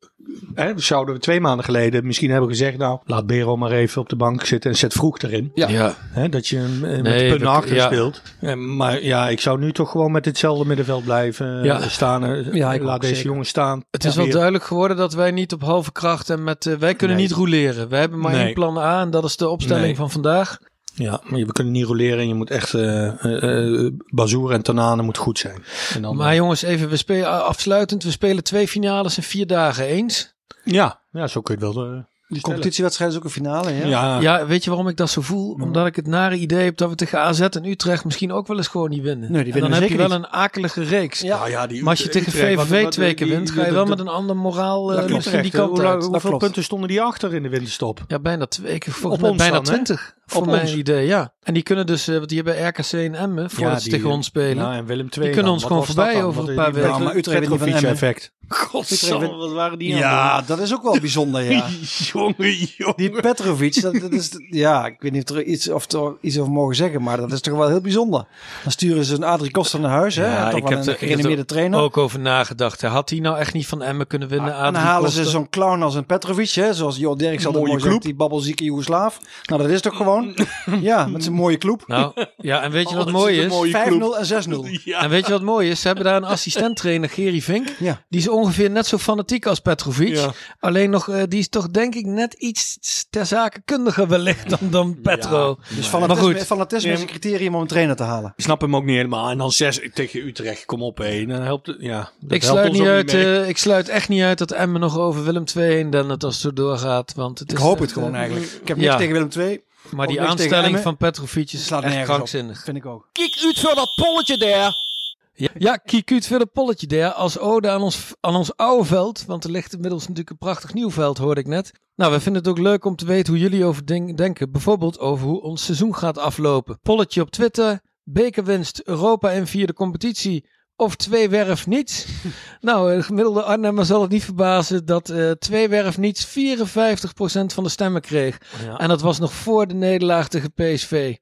S8: Hè, dat zouden we twee maanden geleden misschien hebben gezegd... Nou, laat Bero maar even op de bank zitten en zet vroeg erin.
S9: Ja.
S8: Hè, dat je hem eh, met
S1: Nee,
S8: punten
S1: dat-
S8: achter
S1: ja.
S8: speelt. Eh, maar ja, ik zou nu toch gewoon met hetzelfde middenveld blijven eh,
S1: Ja.
S8: staan. eh,
S7: Ja, ik ook,
S8: laat deze
S7: zeker.
S8: jongen staan.
S1: Het is wel duidelijk geworden dat wij niet op halve kracht en met... eh, wij kunnen
S8: Nee.
S1: niet rouleren. Wij hebben maar
S8: Nee.
S1: één plan A en dat is de opstelling
S8: Nee.
S1: van vandaag.
S8: Ja, maar je- we kunnen niet roleren en je moet echt... eh eh, eh, Bazoer en Tanane moet goed zijn. En dan,
S1: Maar jongens, even we spelen, afsluitend. We spelen twee finales in vier dagen eens.
S8: eh, ja, ja, zo kun je het wel... eh,
S7: Die competitiewedstrijd is ook een finale, ja?
S8: ja,
S1: Ja, weet je waarom ik dat zo voel?
S8: Mm.
S1: Omdat ik het nare idee heb dat we tegen AZ en Utrecht misschien ook wel eens gewoon niet winnen.
S7: Nee, die
S1: en dan heb
S7: winnen we
S1: je
S7: zeker
S1: wel een akelige reeks.
S7: Ja.
S8: Nou ja, die
S1: Maar als je
S8: Utrecht-
S1: tegen
S8: Utrecht,
S1: VVV
S8: wat-
S1: twee
S8: wat-
S1: keer
S8: die-
S1: wint,
S8: die-
S1: ga je wel
S8: dat-
S1: met een ander moraal eh,
S8: dat klopt.
S1: misschien die
S8: Utrecht,
S1: kant
S8: hoe lang-
S1: uit.
S8: Hoeveel
S7: klopt.
S8: punten stonden die achter in de winterstop?
S1: Ja, bijna twee. Ik, volgens
S8: Op
S1: mij
S8: ons
S1: bijna
S8: dan, hè?
S1: twintig. Voor
S8: Op
S1: mijn
S8: ons.
S1: idee, ja. En die kunnen dus, eh, want die hebben RKC en Emmen, voordat ze tegen ons spelen.
S8: Nou, en Willem II
S1: kunnen
S8: dan.
S1: ons
S8: Wat
S1: gewoon
S8: was
S1: voorbij
S8: dat dan?
S1: over
S8: Wat
S1: een
S8: die-
S1: paar
S8: die
S1: weken.
S7: Ja, maar Utrecht heeft niet van
S8: Petrovic
S7: Emmen.
S8: effect. Godsamme, wat waren die
S7: Ja, dat is ook wel bijzonder, ja.
S1: <laughs>
S8: aan Jongen, jongen.
S7: Die Petrovic, dat, dat is, ja, ik weet niet of er iets, of er iets over mogen zeggen, maar dat is toch wel heel bijzonder. Dan sturen ze een Adrie Koster naar huis, hè?
S1: Ja,
S7: toch
S1: ik
S7: wel
S1: heb
S7: een
S1: er- ik heb er
S7: gerenommeerde trainer.
S1: Ook over nagedacht. hè. Had hij nou echt niet van Emmen kunnen winnen?
S7: en dan
S1: Adrie
S7: halen
S1: Koster?
S7: ze zo'n clown als een Petrovic, hè? Zoals Jo Derks altijd mooi zegt, die babbelzieke Joegoslaaf. Nou, dat is toch
S1: <laughs>
S7: gewoon? Ja, met zijn mooie kloep.
S1: Nou, ja, en
S7: <laughs>
S1: weet je
S7: Oh,
S1: wat
S8: dat is
S1: mooi
S8: een
S1: is?
S7: 5-0
S8: mooie kloep.
S7: en 6-0.
S8: <laughs> Ja.
S1: En weet je wat mooi is? Ze hebben daar een assistent-trainer, Gerry Vink.
S7: Ja.
S1: Die is ongeveer net zo fanatiek als Petrovic.
S8: Ja.
S1: Alleen nog, eh, die is toch denk ik net iets ter zake kundiger wellicht dan, dan Petro.
S7: Dus
S1: maar
S7: fanatisme,
S1: goed,
S7: fanatisme is een criterium om een trainer te halen.
S8: Ik snap hem ook niet helemaal. En dan zes tegen Utrecht, kom op hé. Dan helpt het, ja. dat
S1: ik
S8: helpt
S1: sluit,
S8: ons
S1: niet
S8: ook
S1: uit,
S8: mee.
S1: eh, ik sluit echt niet uit dat Emmen nog over Willem II heen dendert als het zo doorgaat. Want het
S7: Ik
S1: is
S7: hoop
S1: echt,
S7: het gewoon
S1: eh,
S7: eigenlijk. Ik heb niks
S1: ja.
S7: tegen Willem II.
S1: Maar die
S7: Ook niks tegen
S1: aanstelling
S7: Emmen.
S1: van Petrovic is
S7: Slaat
S1: echt
S7: nergens op.
S1: krankzinnig.
S7: Vind ik ook.
S9: Kijk uit voor dat polletje daar.
S1: Ja, ja Kiekuut wil een polletje daar als ode aan ons, aan ons oude veld. Want er ligt inmiddels natuurlijk een prachtig nieuw veld, hoorde ik net. Nou, we vinden het ook leuk om te weten hoe jullie over ding denken. Bijvoorbeeld over hoe ons seizoen gaat aflopen. Polletje op Twitter, bekerwinst, Europa en vierde competitie. Of twee
S9: <laughs>
S1: werf niets. nou, eh, gemiddelde Arnhemmer zal het niet verbazen dat eh twee werf niets 54% van de stemmen kreeg.
S8: Ja.
S1: En dat was nog voor de nederlaag tegen PSV.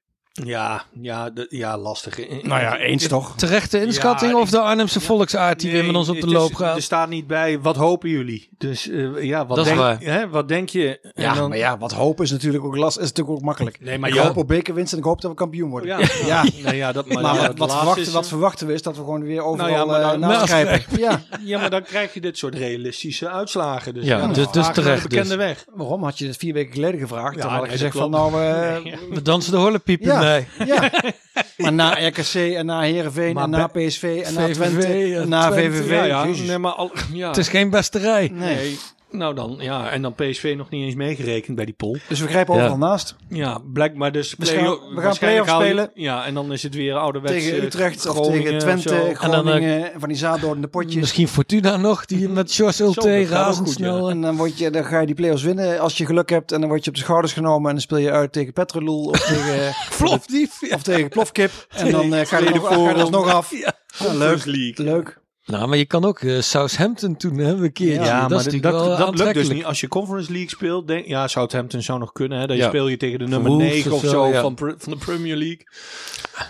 S8: Ja, ja, de- ja, lastig. Eh, eh,
S7: Nou ja, eens toch?
S1: Terechte inschatting
S8: Ja,
S1: of de Arnhemse volksaard die
S8: nee,
S1: weer met ons op de
S8: het
S1: loop
S8: is-
S1: gaat?
S8: Er staat niet bij, wat hopen jullie? Dus eh, ja, wat,
S1: Dat is
S8: denk,
S1: waar.
S8: Hè, wat denk je? En
S7: Ja,
S8: dan-
S7: maar ja, wat hopen is natuurlijk ook last, is natuurlijk ook makkelijk.
S8: Nee, maar
S7: ik
S8: ja.
S7: hoop op bekerwinst en ik hoop dat we kampioen worden.
S8: Ja,
S7: Ja.
S8: ja. Nou ja,
S1: <laughs>
S8: dat, maar
S7: Maar
S8: ja,
S7: wat,
S8: het
S7: wat
S8: laatste
S7: verwachten,
S8: is-
S7: wat verwachten we is dat we gewoon weer
S8: <laughs>
S7: overal
S8: ja,
S7: nou
S8: maar dan-
S7: naschrijven. Ja.
S8: Ja, maar dan krijg je dit soort realistische uitslagen. Dus,
S1: Ja,
S8: dan
S1: dus- dus
S8: vragen we
S1: terecht
S8: De bekende
S1: dus.
S8: weg.
S7: Waarom had je het vier weken geleden gevraagd?
S8: Ja,
S7: dan had ik
S8: nee,
S7: gezegd
S8: dat
S7: van nou...
S8: <laughs>
S7: eh,
S1: We dansen de horlepiep
S7: Ja.
S1: mee.
S7: ja. <laughs> Maar na RKC en na Heerenveen en na PSV en na
S1: VVV
S7: Twente
S1: en
S7: en na
S1: Twente,
S7: VVV.
S8: Ja, ja,
S7: Jezus.
S8: nee, maar al, ja.
S1: Het is geen besterij.
S8: nee. Nou dan, ja, en dan PSV nog niet eens meegerekend bij die poll.
S7: Dus we grijpen overal
S1: Ja.
S7: naast.
S8: Ja, blijkbaar dus.
S7: Dus gaan- we gaan
S8: waarschijnlijk
S7: play-off
S8: haal je- Ja, en dan is het weer ouderwets.
S7: Tegen
S8: eh,
S7: Utrecht of
S8: Groningen
S7: tegen
S8: zo.
S7: Twente,
S1: En dan, eh,
S7: Groningen, van die zaaddodende potjes.
S1: Misschien Fortuna nog,
S8: <laughs>
S1: die met George Ulte
S8: dat gaat ook
S1: razendsnel.
S7: En dan, word je, dan ga je die play-offs winnen als je geluk hebt. En dan word je op de schouders genomen. En dan speel je uit tegen Petrolul
S8: <laughs>
S7: of tegen,
S1: Plofdief.
S7: of tegen Plofkip. En dan eh, ga je er nog, ga je er alsnog af. Ja, leuk. leuk.
S1: Nou, maar je kan ook eh, Southampton toen hebben een keertje.
S8: Ja,
S1: dat
S8: maar
S1: is
S8: dat,
S1: natuurlijk wel
S8: dat, dat lukt dus
S1: aantrekkelijk.
S8: niet. Als je Conference League speelt, denk, ja, Southampton zou nog kunnen. Hè, dan
S1: Ja.
S8: speel je tegen de nummer
S1: Wolves
S8: 9 of
S1: of
S8: zo,
S1: zo, ja.
S8: van, pre- van de Premier League.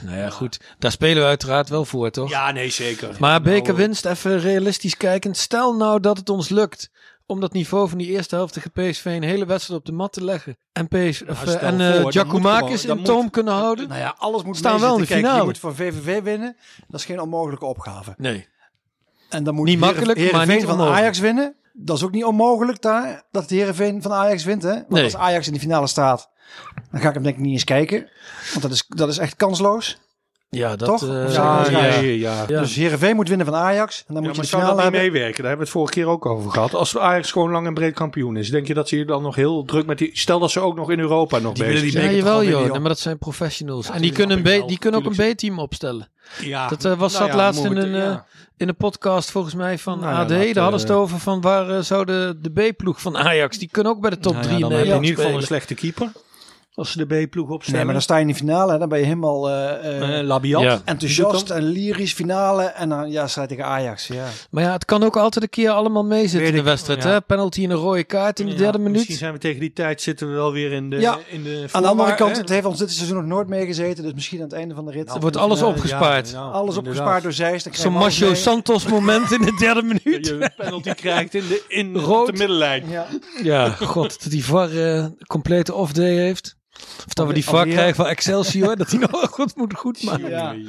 S1: Nou ja, goed. Daar spelen we uiteraard wel voor, toch?
S8: Ja, nou, nee, zeker.
S1: Maar bekerwinst, even realistisch kijkend. Stel nou dat het ons lukt om dat niveau van die eerste helft tegen PSV een hele wedstrijd op de mat te leggen. En, PS, of,
S8: Nou, stel
S1: eh, en eh,
S8: voor, dat moet
S1: Giacomakis
S8: gewoon-
S1: in
S8: dat moet-
S1: toom kunnen houden.
S7: Nou ja, alles moet
S1: Staan wel
S7: meezitten.
S1: in de
S7: Kijk,
S1: finale.
S7: Je moet van VVV winnen. Dat is geen onmogelijke opgave.
S1: Nee.
S7: En dan moet
S1: Niet
S7: Heeren-
S1: makkelijk, maar
S7: Heerenveen
S1: niet
S7: van
S1: onmogelijk.
S7: Ajax winnen. Dat is ook niet onmogelijk daar, dat Heerenveen van Ajax wint. Hè? Want
S1: Nee.
S7: als Ajax in de finale staat, dan ga ik hem denk ik niet eens kijken. Want dat is, dat is echt kansloos.
S1: Ja, dat...
S7: Toch?
S1: eh,
S7: Ja,
S8: ja, ja,
S1: ja.
S8: ja.
S1: Ja.
S7: Dus Heerenveen moet winnen van Ajax. En dan
S8: Ja,
S7: moet je
S8: maar
S7: de
S8: zou
S7: finale
S8: dat niet
S7: hebben.
S8: meewerken? Daar hebben we het vorige keer ook over gehad. Als Ajax gewoon lang en breed kampioen is, denk je dat ze hier dan nog heel druk met die... Stel dat ze ook nog in Europa nog bezig
S7: willen
S8: zijn.
S7: die
S1: Ja,
S7: beker
S1: jawel
S7: toch wel
S1: joh.
S7: winnen,
S1: Nee, maar dat zijn professionals. en die
S8: tuurlijk
S1: kunnen, een
S8: snap ik
S1: B-
S8: wel.
S1: die kunnen ook een
S8: Tuurlijk.
S1: B-team opstellen.
S8: Ja.
S1: Dat eh, was
S8: Nou
S1: zat
S8: ja,
S1: laatst in
S8: moet-
S1: een, eh,
S8: ja.
S1: in een podcast volgens mij van
S8: Nou ja,
S1: AD.
S8: laten
S1: Daar hadden ze
S8: we-
S1: het over van waar eh, zou de, de B-ploeg van Ajax... Die kunnen ook bij de top
S8: Nou
S1: 3
S8: ja, dan
S1: in
S8: heb je in
S1: Nederland
S8: ieder geval een
S1: spelen.
S8: slechte keeper. Als ze de B-ploeg opstellen.
S7: Nee, maar dan sta je in de finale. hè. Dan ben je helemaal eh, eh,
S8: Eh, Labiat.
S1: Ja.
S7: enthousiast en lyrisch finale. En dan ja, sta je tegen Ajax. Ja.
S1: Maar ja, het kan ook altijd een keer allemaal meezitten in de wedstrijd.
S8: ja.
S1: Hè? Penalty en een rode kaart in de
S8: Ja,
S1: derde
S8: Misschien
S1: minuut.
S8: zijn we tegen die tijd zitten we wel weer in de...
S7: Ja.
S8: in de
S7: Aan de andere
S8: voorwaar-
S7: kant,
S8: hè? Nou,
S7: het heeft ons dit seizoen nog nooit meegezeten. Dus misschien aan het einde van de rit.
S1: Er wordt alles
S7: Ja,
S1: opgespaard.
S8: Ja, nou,
S7: Alles opgespaard door Zeist. dan
S1: Zo'n
S7: krijgen we alles
S1: Macho
S7: mee.
S1: Santos moment in de
S8: <laughs>
S1: derde
S8: inderdaad.
S1: minuut.
S8: Dat je een penalty <laughs> krijgt in de, in
S1: Rood.
S8: de middenlijn.
S7: Ja.
S1: Ja, Oh god, dat die VAR eh, complete off-day heeft. Of dat we die VAR
S7: Alweer.
S1: krijgen van Excelsior. <laughs> dat hij nog goed moet goed maken.
S7: Ja. <laughs>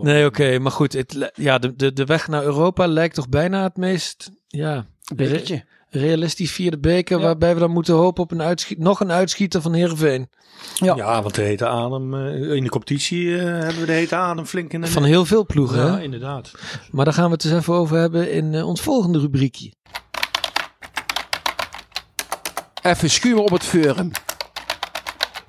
S1: Nee, oké, maar goed. Het, li- ja, de, de, de weg naar Europa lijkt toch bijna het meest ja, re-
S7: Bekertje.
S1: realistisch via de beker. Waarbij we dan moeten hopen op een uitschiet, nog een uitschieter van Heerenveen.
S8: Ja. want de hete adem... eh, in de competitie eh, hebben we de hete adem flink in de...
S1: Van heel veel ploegen.
S8: ja,
S1: hè?
S8: inderdaad.
S1: Maar daar gaan we het eens even over hebben in eh, ons volgende rubriekje.
S9: Even schuimen op het veuren.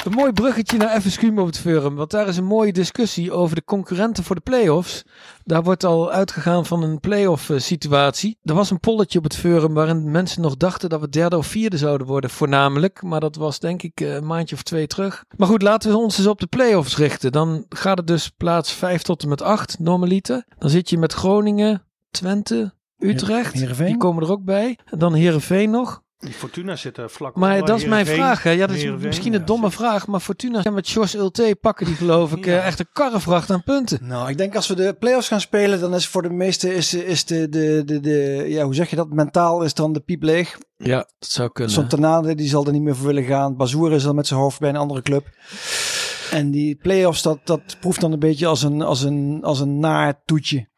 S1: Een mooi bruggetje naar FSQ op het forum. Want daar is een mooie discussie over de concurrenten voor de play-offs. Daar wordt al uitgegaan van een play-off eh, situatie. Er was een polletje op het forum waarin mensen nog dachten dat we derde of vierde zouden worden voornamelijk. Maar dat was denk ik eh, een maandje of twee terug. Maar goed, laten we ons eens op de play-offs richten. Dan gaat het dus plaats 5 tot en met 8 normaliter. Dan zit je met Groningen, Twente, Utrecht,
S7: Heerenveen.
S1: die komen er ook bij. En dan Heerenveen nog.
S8: Die Fortuna zit er vlak
S1: Maar
S8: onder,
S1: dat is mijn
S8: Heerenveen.
S1: vraag. Hè. Ja, dat is
S8: Heerenveen,
S1: misschien
S8: ja,
S1: een domme vraag, maar Fortuna en met Jos Ulte pakken die geloof
S8: <laughs>
S1: ik eh, echt een karrevracht aan punten.
S7: Nou, ik denk als we de play-offs gaan spelen, dan is voor de meeste is, is de, de, de, de, ja, hoe zeg je dat, mentaal is dan de piep leeg.
S1: Ja, dat zou kunnen.
S7: Sonternade, die zal er niet meer voor willen gaan. Bazoer is al met zijn hoofd bij een andere club. En die play-offs, dat, dat proeft dan een beetje als een, als een, als een naar toetje.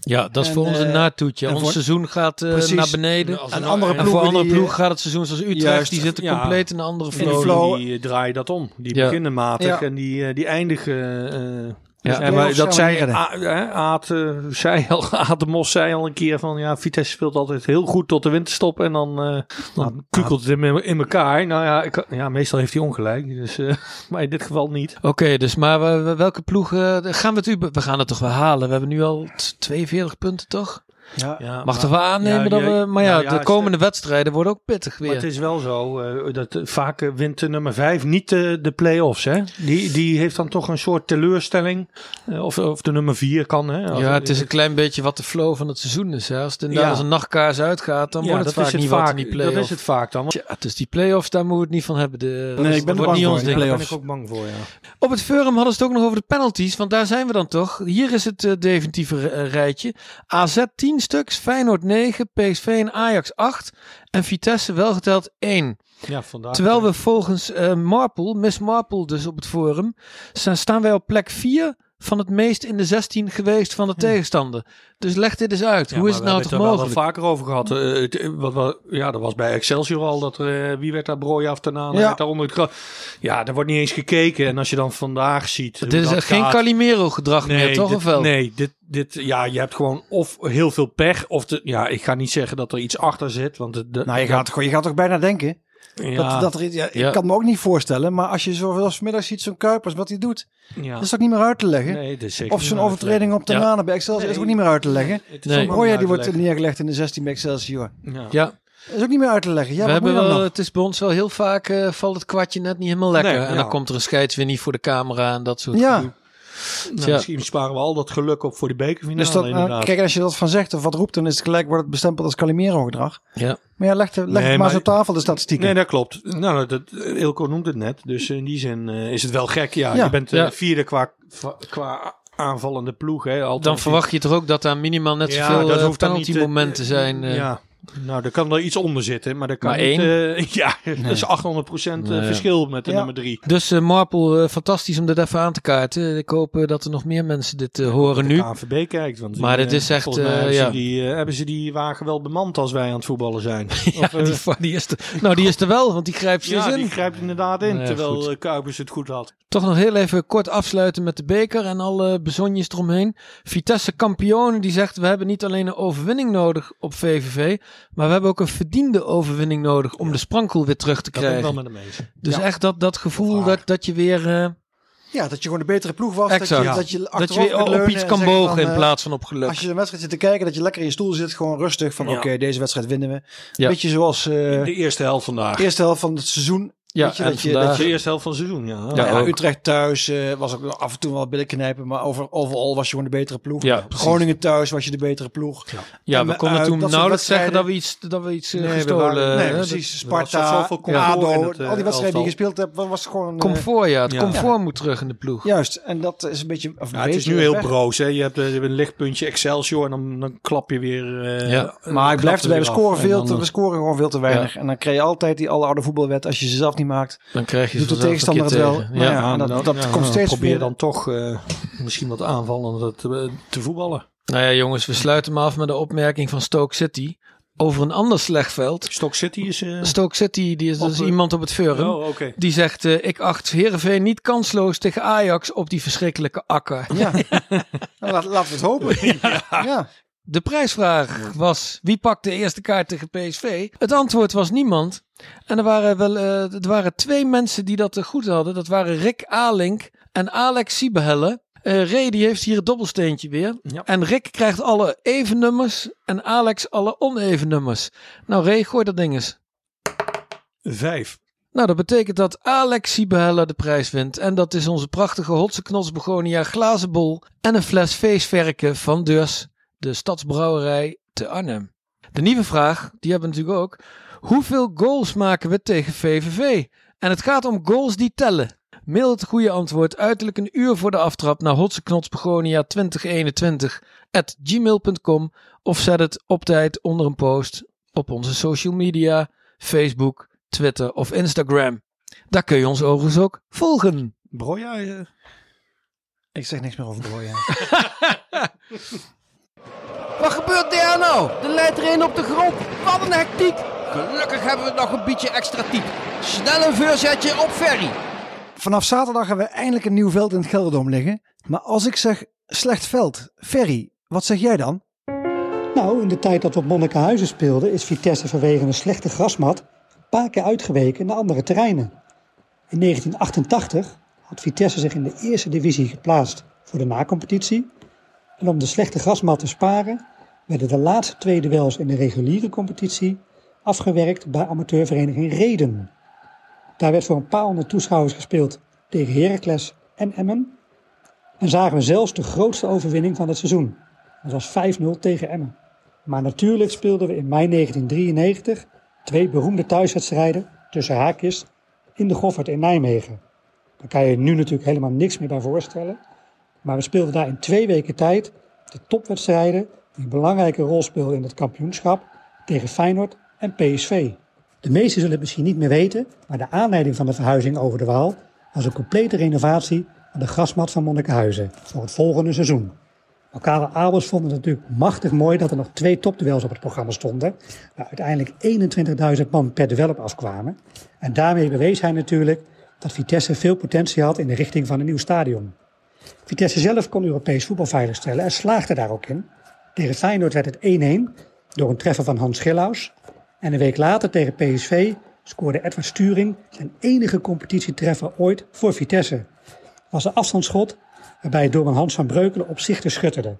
S1: ja, dat is
S7: En,
S1: voor ons een
S7: eh,
S1: natoetje.
S7: en
S1: Ons
S7: voor-
S1: seizoen gaat eh,
S7: Precies.
S1: naar beneden.
S8: Als
S7: Een
S8: nou-
S7: andere
S1: En
S7: ploegen
S1: voor andere
S7: die, eh,
S1: ploegen gaat het seizoen zoals Utrecht.
S7: juist,
S1: die zitten
S8: ja.
S1: compleet in een andere
S8: En die
S1: flow.
S7: flow.
S8: die eh, draaien dat om. Die
S1: Ja.
S8: beginnen matig
S7: Ja.
S8: en die, eh, die eindigen. eh
S1: Ja,
S8: ja,
S1: en
S7: wij-
S8: maar
S7: zouden
S8: dat
S7: niet
S8: zei
S7: redden.
S8: A- ah, hè, Aad, eh, zei al, <laughs> Aad de Mos zei al een keer van ja, Vitesse speelt altijd heel goed tot de winterstop en dan, eh dan kukelt het in, in elkaar. Nou ja, ik, ja, meestal heeft hij ongelijk, dus, eh, <laughs> maar in dit geval niet.
S1: Oké, dus maar we- we- welke ploeg eh, gaan we het u... We gaan het toch wel halen? We hebben nu al t- 42 punten, toch?
S7: Ja.
S8: Ja,
S1: Mag toch wel aannemen
S8: Nou, ja,
S1: dat
S8: ja,
S1: we... Maar ja,
S8: nou ja,
S1: de
S8: het-
S1: komende wedstrijden worden ook pittig
S8: Maar het
S1: weer.
S8: is wel zo eh, dat eh, vaak eh, wint de nummer 5 niet eh, de play-offs. Hè? Die, die heeft dan toch een soort teleurstelling. Eh, of, of de nummer 4 kan. Hè? Als-
S1: Ja, het is een klein beetje wat de flow van het seizoen is. Hè. Als het inderdaad
S8: Nou, Ja.
S1: als een nachtkaars uitgaat, dan
S8: Ja,
S1: wordt het vaak niet wat in die
S8: dat
S1: play-off.
S8: is het vaak dan. want-
S1: Tja, dus die play-offs, daar moeten we het niet van hebben. De, dat
S7: ik ben
S1: wordt
S7: er bang
S1: niet
S7: voor,
S1: ons
S7: die
S1: ding.
S7: play-offs.
S8: Daar ben ik ook bang voor, ja.
S1: Op het forum hadden ze het ook nog over de penalties, want daar zijn we dan toch. Hier is het eh, definitieve ri- eh, rijtje. AZ 10 stuks, Feyenoord 9, PSV en Ajax 8 en Vitesse welgeteld 1.
S8: Ja, vandaag.
S1: Terwijl we volgens eh Marple, Miss Marple dus op het forum, sta- staan wij op plek 4 van het meest in de 16 geweest van de tegenstander. Dus leg dit eens uit.
S8: Ja,
S1: Hoe
S8: maar
S1: is het
S8: we
S1: nou
S8: hebben
S1: toch
S8: er wel
S1: mogelijk?
S8: vaker over gehad. Eh, het- eh, wat, wat, ja, dat was bij Excelsior al. Dat, er, eh, wie werd daar brooi af ten aan?
S7: Ja.
S8: Ja. Daar onder het gras. ja, daar wordt niet eens gekeken. En als je dan vandaag ziet... hoe
S1: Dit is
S8: dat
S1: echt geen
S8: gaat-
S1: Calimero gedrag meer, toch?
S8: dit,
S1: of wel?
S8: Nee, dit, dit, ja, je hebt gewoon of heel veel pech. Of de, ja, ik ga niet zeggen dat er iets achter zit. Want de, de-
S7: Nou, je gaat, gewoon- je gaat toch bijna denken.
S8: ja,
S7: Dat, dat er, iets- ja, ik
S1: Ja.
S7: kan me ook niet voorstellen, maar als je zoveel middag ziet zo'n Kuipers, wat hij doet,
S8: ja.
S7: dat is toch niet meer uit te leggen?
S8: Nee, dat is zeker
S7: Of
S8: niet
S7: zo'n
S8: waar.
S7: overtreding op de
S1: Ja.
S7: manen bij Excelsior is ook niet meer uit te leggen.
S8: Het is
S1: Nee.
S8: allemaal
S7: Roya
S8: niet
S7: die
S8: uit te
S7: wordt
S8: leggen.
S7: neergelegd in de 16 bij Excelsior.
S8: Ja.
S1: Ja,
S7: Dat is ook niet meer uit te leggen. Ja,
S1: we
S7: wat moet
S1: hebben
S7: je dan
S1: wel, eh,
S7: nog?
S1: het is bij ons wel heel vaak eh, valt het kwartje net niet helemaal lekker.
S8: Nee,
S1: en
S8: ja.
S1: dan komt er een scheids weer niet voor de camera en dat soort
S7: Ja,
S1: gedoe.
S8: Nou,
S1: Tja.
S8: Misschien sparen we al dat geluk op voor de bekerfinale
S7: dus dat, nou,
S8: inderdaad.
S7: kijk, als je dat van zegt of wat roept, dan is het gelijk wordt het bestempeld als Calimero-gedrag.
S1: Ja.
S7: Maar ja, leg, de, leg
S8: Nee,
S7: het maar,
S8: maar-
S7: eens op tafel de statistieken.
S8: Nee, dat klopt. Nou, dat, Ilko noemt het net. Dus in die zin eh, is het wel gek. Ja,
S7: Ja,
S8: je bent eh,
S1: ja.
S8: vierde qua, va- qua aanvallende ploeg. Hè, altijd.
S1: Dan verwacht je toch ook dat daar minimaal net
S8: Ja,
S1: zoveel
S8: dat
S1: eh,
S8: hoeft dan niet, eh,
S1: penalty-momenten zijn. eh.
S8: Ja. Nou, er kan wel iets onder zitten, maar dat kan
S1: Maar
S8: niet,
S1: één?
S8: eh, <laughs> ja, dat is 800
S1: Nee.
S8: verschil met de
S7: Ja.
S8: nummer drie.
S1: Dus eh Marple, eh, fantastisch om dit even aan te kaarten. Ik hoop eh, dat er nog meer mensen dit eh, horen nu.
S8: KNVB kijkt. Want
S1: Maar
S8: die,
S1: het
S8: eh,
S1: is echt,
S8: volgens mij
S1: eh,
S8: hebben,
S1: ja.
S8: ze die, eh, hebben ze die wagen wel bemand als wij aan het voetballen
S1: <laughs>
S8: zijn? eh,
S1: Ja, die, va- die is er, nou, die is er wel, want die grijpt ze
S8: ja,
S1: in.
S8: die grijpt inderdaad in,
S1: Nee,
S8: terwijl
S1: goed.
S8: eh, Kuipers het goed had.
S1: Toch nog heel even kort afsluiten met de beker en alle bezonjes eromheen. Vitesse kampioen die zegt we hebben niet alleen een overwinning nodig op VVV, maar we hebben ook een verdiende overwinning nodig om de sprankel weer terug te
S8: Dat ben ik wel
S1: krijgen.
S8: met hem eens.
S1: Dus
S7: Ja.
S1: echt dat, dat gevoel dat, dat je weer, eh,
S7: Ja, dat je gewoon de betere ploeg was.
S1: Exact. Ja.
S7: Dat je, dat je,
S1: dat je weer op iets kan bogen in plaats van op geluk.
S7: eh, Als je een wedstrijd zit te kijken, dat je lekker in je stoel zit, gewoon rustig van
S8: Ja.
S7: oké, deze wedstrijd winnen we.
S1: Ja.
S7: Beetje zoals eh,
S8: De eerste helft vandaag.
S7: de eerste helft van het seizoen.
S1: ja,
S7: weet je,
S1: en
S7: dat je- dat
S1: vandaag,
S8: De eerste helft van het seizoen, ja.
S1: Ja,
S7: Nou Eh, ja,
S1: ook.
S7: Utrecht thuis eh, was ook af en toe wel billen knijpen, maar over, overal was je gewoon de betere ploeg.
S1: Ja, precies.
S7: Groningen thuis was je de betere ploeg.
S1: ja, we
S7: en,
S1: konden
S7: eh,
S1: toen
S7: dat soort
S1: nauwelijks zeggen dat we
S7: wedstrijden-
S1: iets, dat we iets eh,
S7: Nee, we
S1: gestolen
S7: waren-
S1: hebben.
S7: nee, precies.
S8: Er was
S7: Sparta,
S8: zoveel comfort
S7: ADO,
S8: in
S7: al
S8: het,
S7: die
S8: eh,
S7: wedstrijden die
S8: elftal.
S7: je gespeeld hebt, wa- was gewoon... eh,
S1: Comfort, ja. Het
S8: Ja.
S1: comfort moet terug in de ploeg.
S7: juist, en dat is een beetje... Of een
S8: Ja, het is
S7: beetje
S8: nu heel
S7: weg.
S8: broos. Hè? Je, hebt, eh, je hebt een lichtpuntje Excelsior en dan, dan klap je weer. eh,
S1: Ja,
S8: eh,
S7: Maar ik
S8: knap
S7: blijf
S8: er
S7: erbij, we
S8: weer af.
S7: scoren,
S8: En
S7: veel
S8: dan-
S7: te, we scoren gewoon veel te weinig. En dan krijg je altijd die alleroude voetbalwet, als je ze zelf niet maakt,
S1: Dan krijg je
S7: doet de
S1: vanzelf een
S7: tegenstander het
S1: keer
S7: wel.
S1: tegen.
S7: Nou
S1: Ja.
S7: ja, en dat, dat
S8: ja, nou,
S7: komt steeds
S8: eh, Probeer
S7: meer-
S8: dan toch eh, misschien wat aanvallender te, eh, te voetballen.
S1: Nou ja, jongens, we sluiten me af met de opmerking van Stoke City over een ander slecht veld.
S8: Stock City is. eh,
S1: Stoke City, die is, dat is
S8: Op, eh,
S1: iemand op het forum.
S8: oh, oké.
S1: Die zegt, eh, ik acht Heerenveen niet kansloos tegen Ajax op die verschrikkelijke akker.
S8: eh.
S7: Ja. <laughs> nou, laat- laten we het hopen.
S1: <laughs>
S7: Ja.
S1: De prijsvraag was, wie pakt de eerste kaart tegen PSV? Het antwoord was niemand. En er waren, wel, eh, er waren twee mensen die dat eh, goed hadden. Dat waren Rick Alink en Alex Siebehelle. Eh Ray die heeft hier het dobbelsteentje weer.
S8: Ja.
S1: En Rick krijgt alle even nummers en Alex alle oneven nummers. Nou Ray, gooi dat ding eens.
S8: Vijf.
S1: Nou, dat betekent dat Alex Sibella de prijs wint. En dat is onze prachtige Hotse Knots Begonia glazen bol en een fles feestverken van Dus, de Stadsbrouwerij uit eh, Arnhem. De nieuwe vraag, die hebben we natuurlijk ook. Hoeveel goals maken we tegen VVV? En het gaat om goals die tellen. Mail het goede antwoord uiterlijk een uur voor de aftrap naar hotseknotsbegonia 2021 at gmail.com of zet het op tijd onder een post op onze social media, Facebook, Twitter of Instagram. Daar kun je ons overigens ook volgen.
S8: Broja, eh,
S7: Ik zeg niks meer over Broja.
S9: Wat gebeurt daar nou? De leidt erin op de grond. Wat een hectiek. Gelukkig hebben we nog een beetje extra type. Snel een voorzetje op Ferry.
S7: <laughs> Vanaf zaterdag hebben we eindelijk een nieuw veld in het Gelderdoom liggen. Maar als ik zeg slecht veld, Ferry, wat zeg jij dan?
S10: Nou, in de tijd dat we op Monnikenhuizen speelden, is Vitesse vanwege een slechte grasmat een paar keer uitgeweken naar andere terreinen. In 1988 had Vitesse zich in de eerste divisie geplaatst voor de nacompetitie. En om de slechte grasmat te sparen, werden de laatste twee duels in de reguliere competitie afgewerkt bij amateurvereniging Reden. Daar werd voor een paar honderd toeschouwers gespeeld tegen Heracles en Emmen. En zagen we zelfs de grootste overwinning van het seizoen. Dat was 5-0 tegen Emmen. Maar natuurlijk speelden we in mei 1993 twee beroemde thuiswedstrijden tussen haakjes in de Goffert in Nijmegen. Daar kan je je nu natuurlijk helemaal niks meer bij voorstellen. Maar we speelden daar in twee weken tijd de topwedstrijden die een belangrijke rol speelden in het kampioenschap tegen Feyenoord en PSV. De meesten zullen het misschien niet meer weten, maar de aanleiding van de verhuizing over de Waal was een complete renovatie aan de grasmat van Monnikenhuizen voor het volgende seizoen. Maar Karel Abels vond het natuurlijk machtig mooi dat er nog twee topduels op het programma stonden. Waar uiteindelijk 21.000 man per duel op afkwamen. En daarmee bewees hij natuurlijk dat Vitesse veel potentie had in de richting van een nieuw stadion. Vitesse zelf kon Europees voetbal veiligstellen en slaagde daar ook in. Tegen Feyenoord werd het 1-1 door een treffer van Hans Gillaus. En een week later tegen PSV scoorde Edward Sturing zijn enige competitietreffer ooit voor Vitesse. Was een afstandsschot waarbij doelman Hans van Breukelen op zich te schutterde.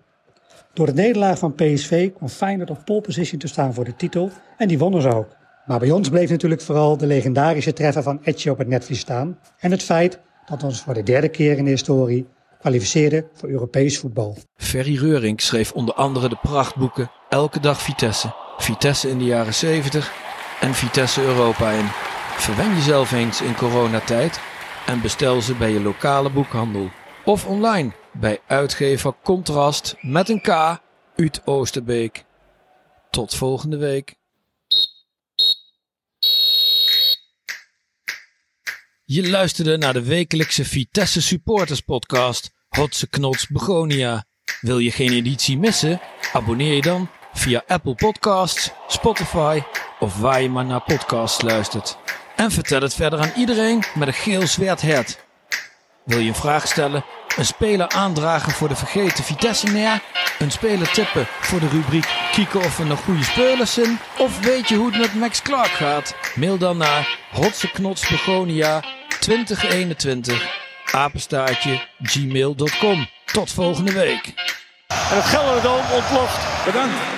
S10: Door de nederlaag van PSV kwam Feyenoord op pole position te staan voor de titel en die wonnen ze ook. Maar bij ons bleef natuurlijk vooral de legendarische treffer van Etje op het netvlies staan en het feit dat we ons voor de derde keer in de historie kwalificeerden voor Europees voetbal.
S1: Ferry Reuring schreef onder andere de prachtboeken Elke dag Vitesse, Vitesse in de jaren 70 en Vitesse Europa in. Verwen jezelf eens in coronatijd en bestel ze bij je lokale boekhandel of online bij uitgever Contrast met een K uit Oosterbeek. Tot volgende week. Je luisterde naar de wekelijkse Vitesse Supporters Podcast, Hotse Knots Begonia. Wil je geen editie missen? Abonneer je dan via Apple Podcasts, Spotify of waar je maar naar podcasts luistert. En vertel het verder aan iedereen met een geel zwart hert. Wil je een vraag stellen? Een speler aandragen voor de vergeten Vitesse neer? Een speler tippen voor de rubriek kieken of er nog goede spelers zijn? Of weet je hoe het met Max Clark gaat? Mail dan naar hotseknotsbegonia 2021 apenstaartje gmail.com. Tot volgende week.
S5: En het Gelderdoom ontploft.
S3: Bedankt.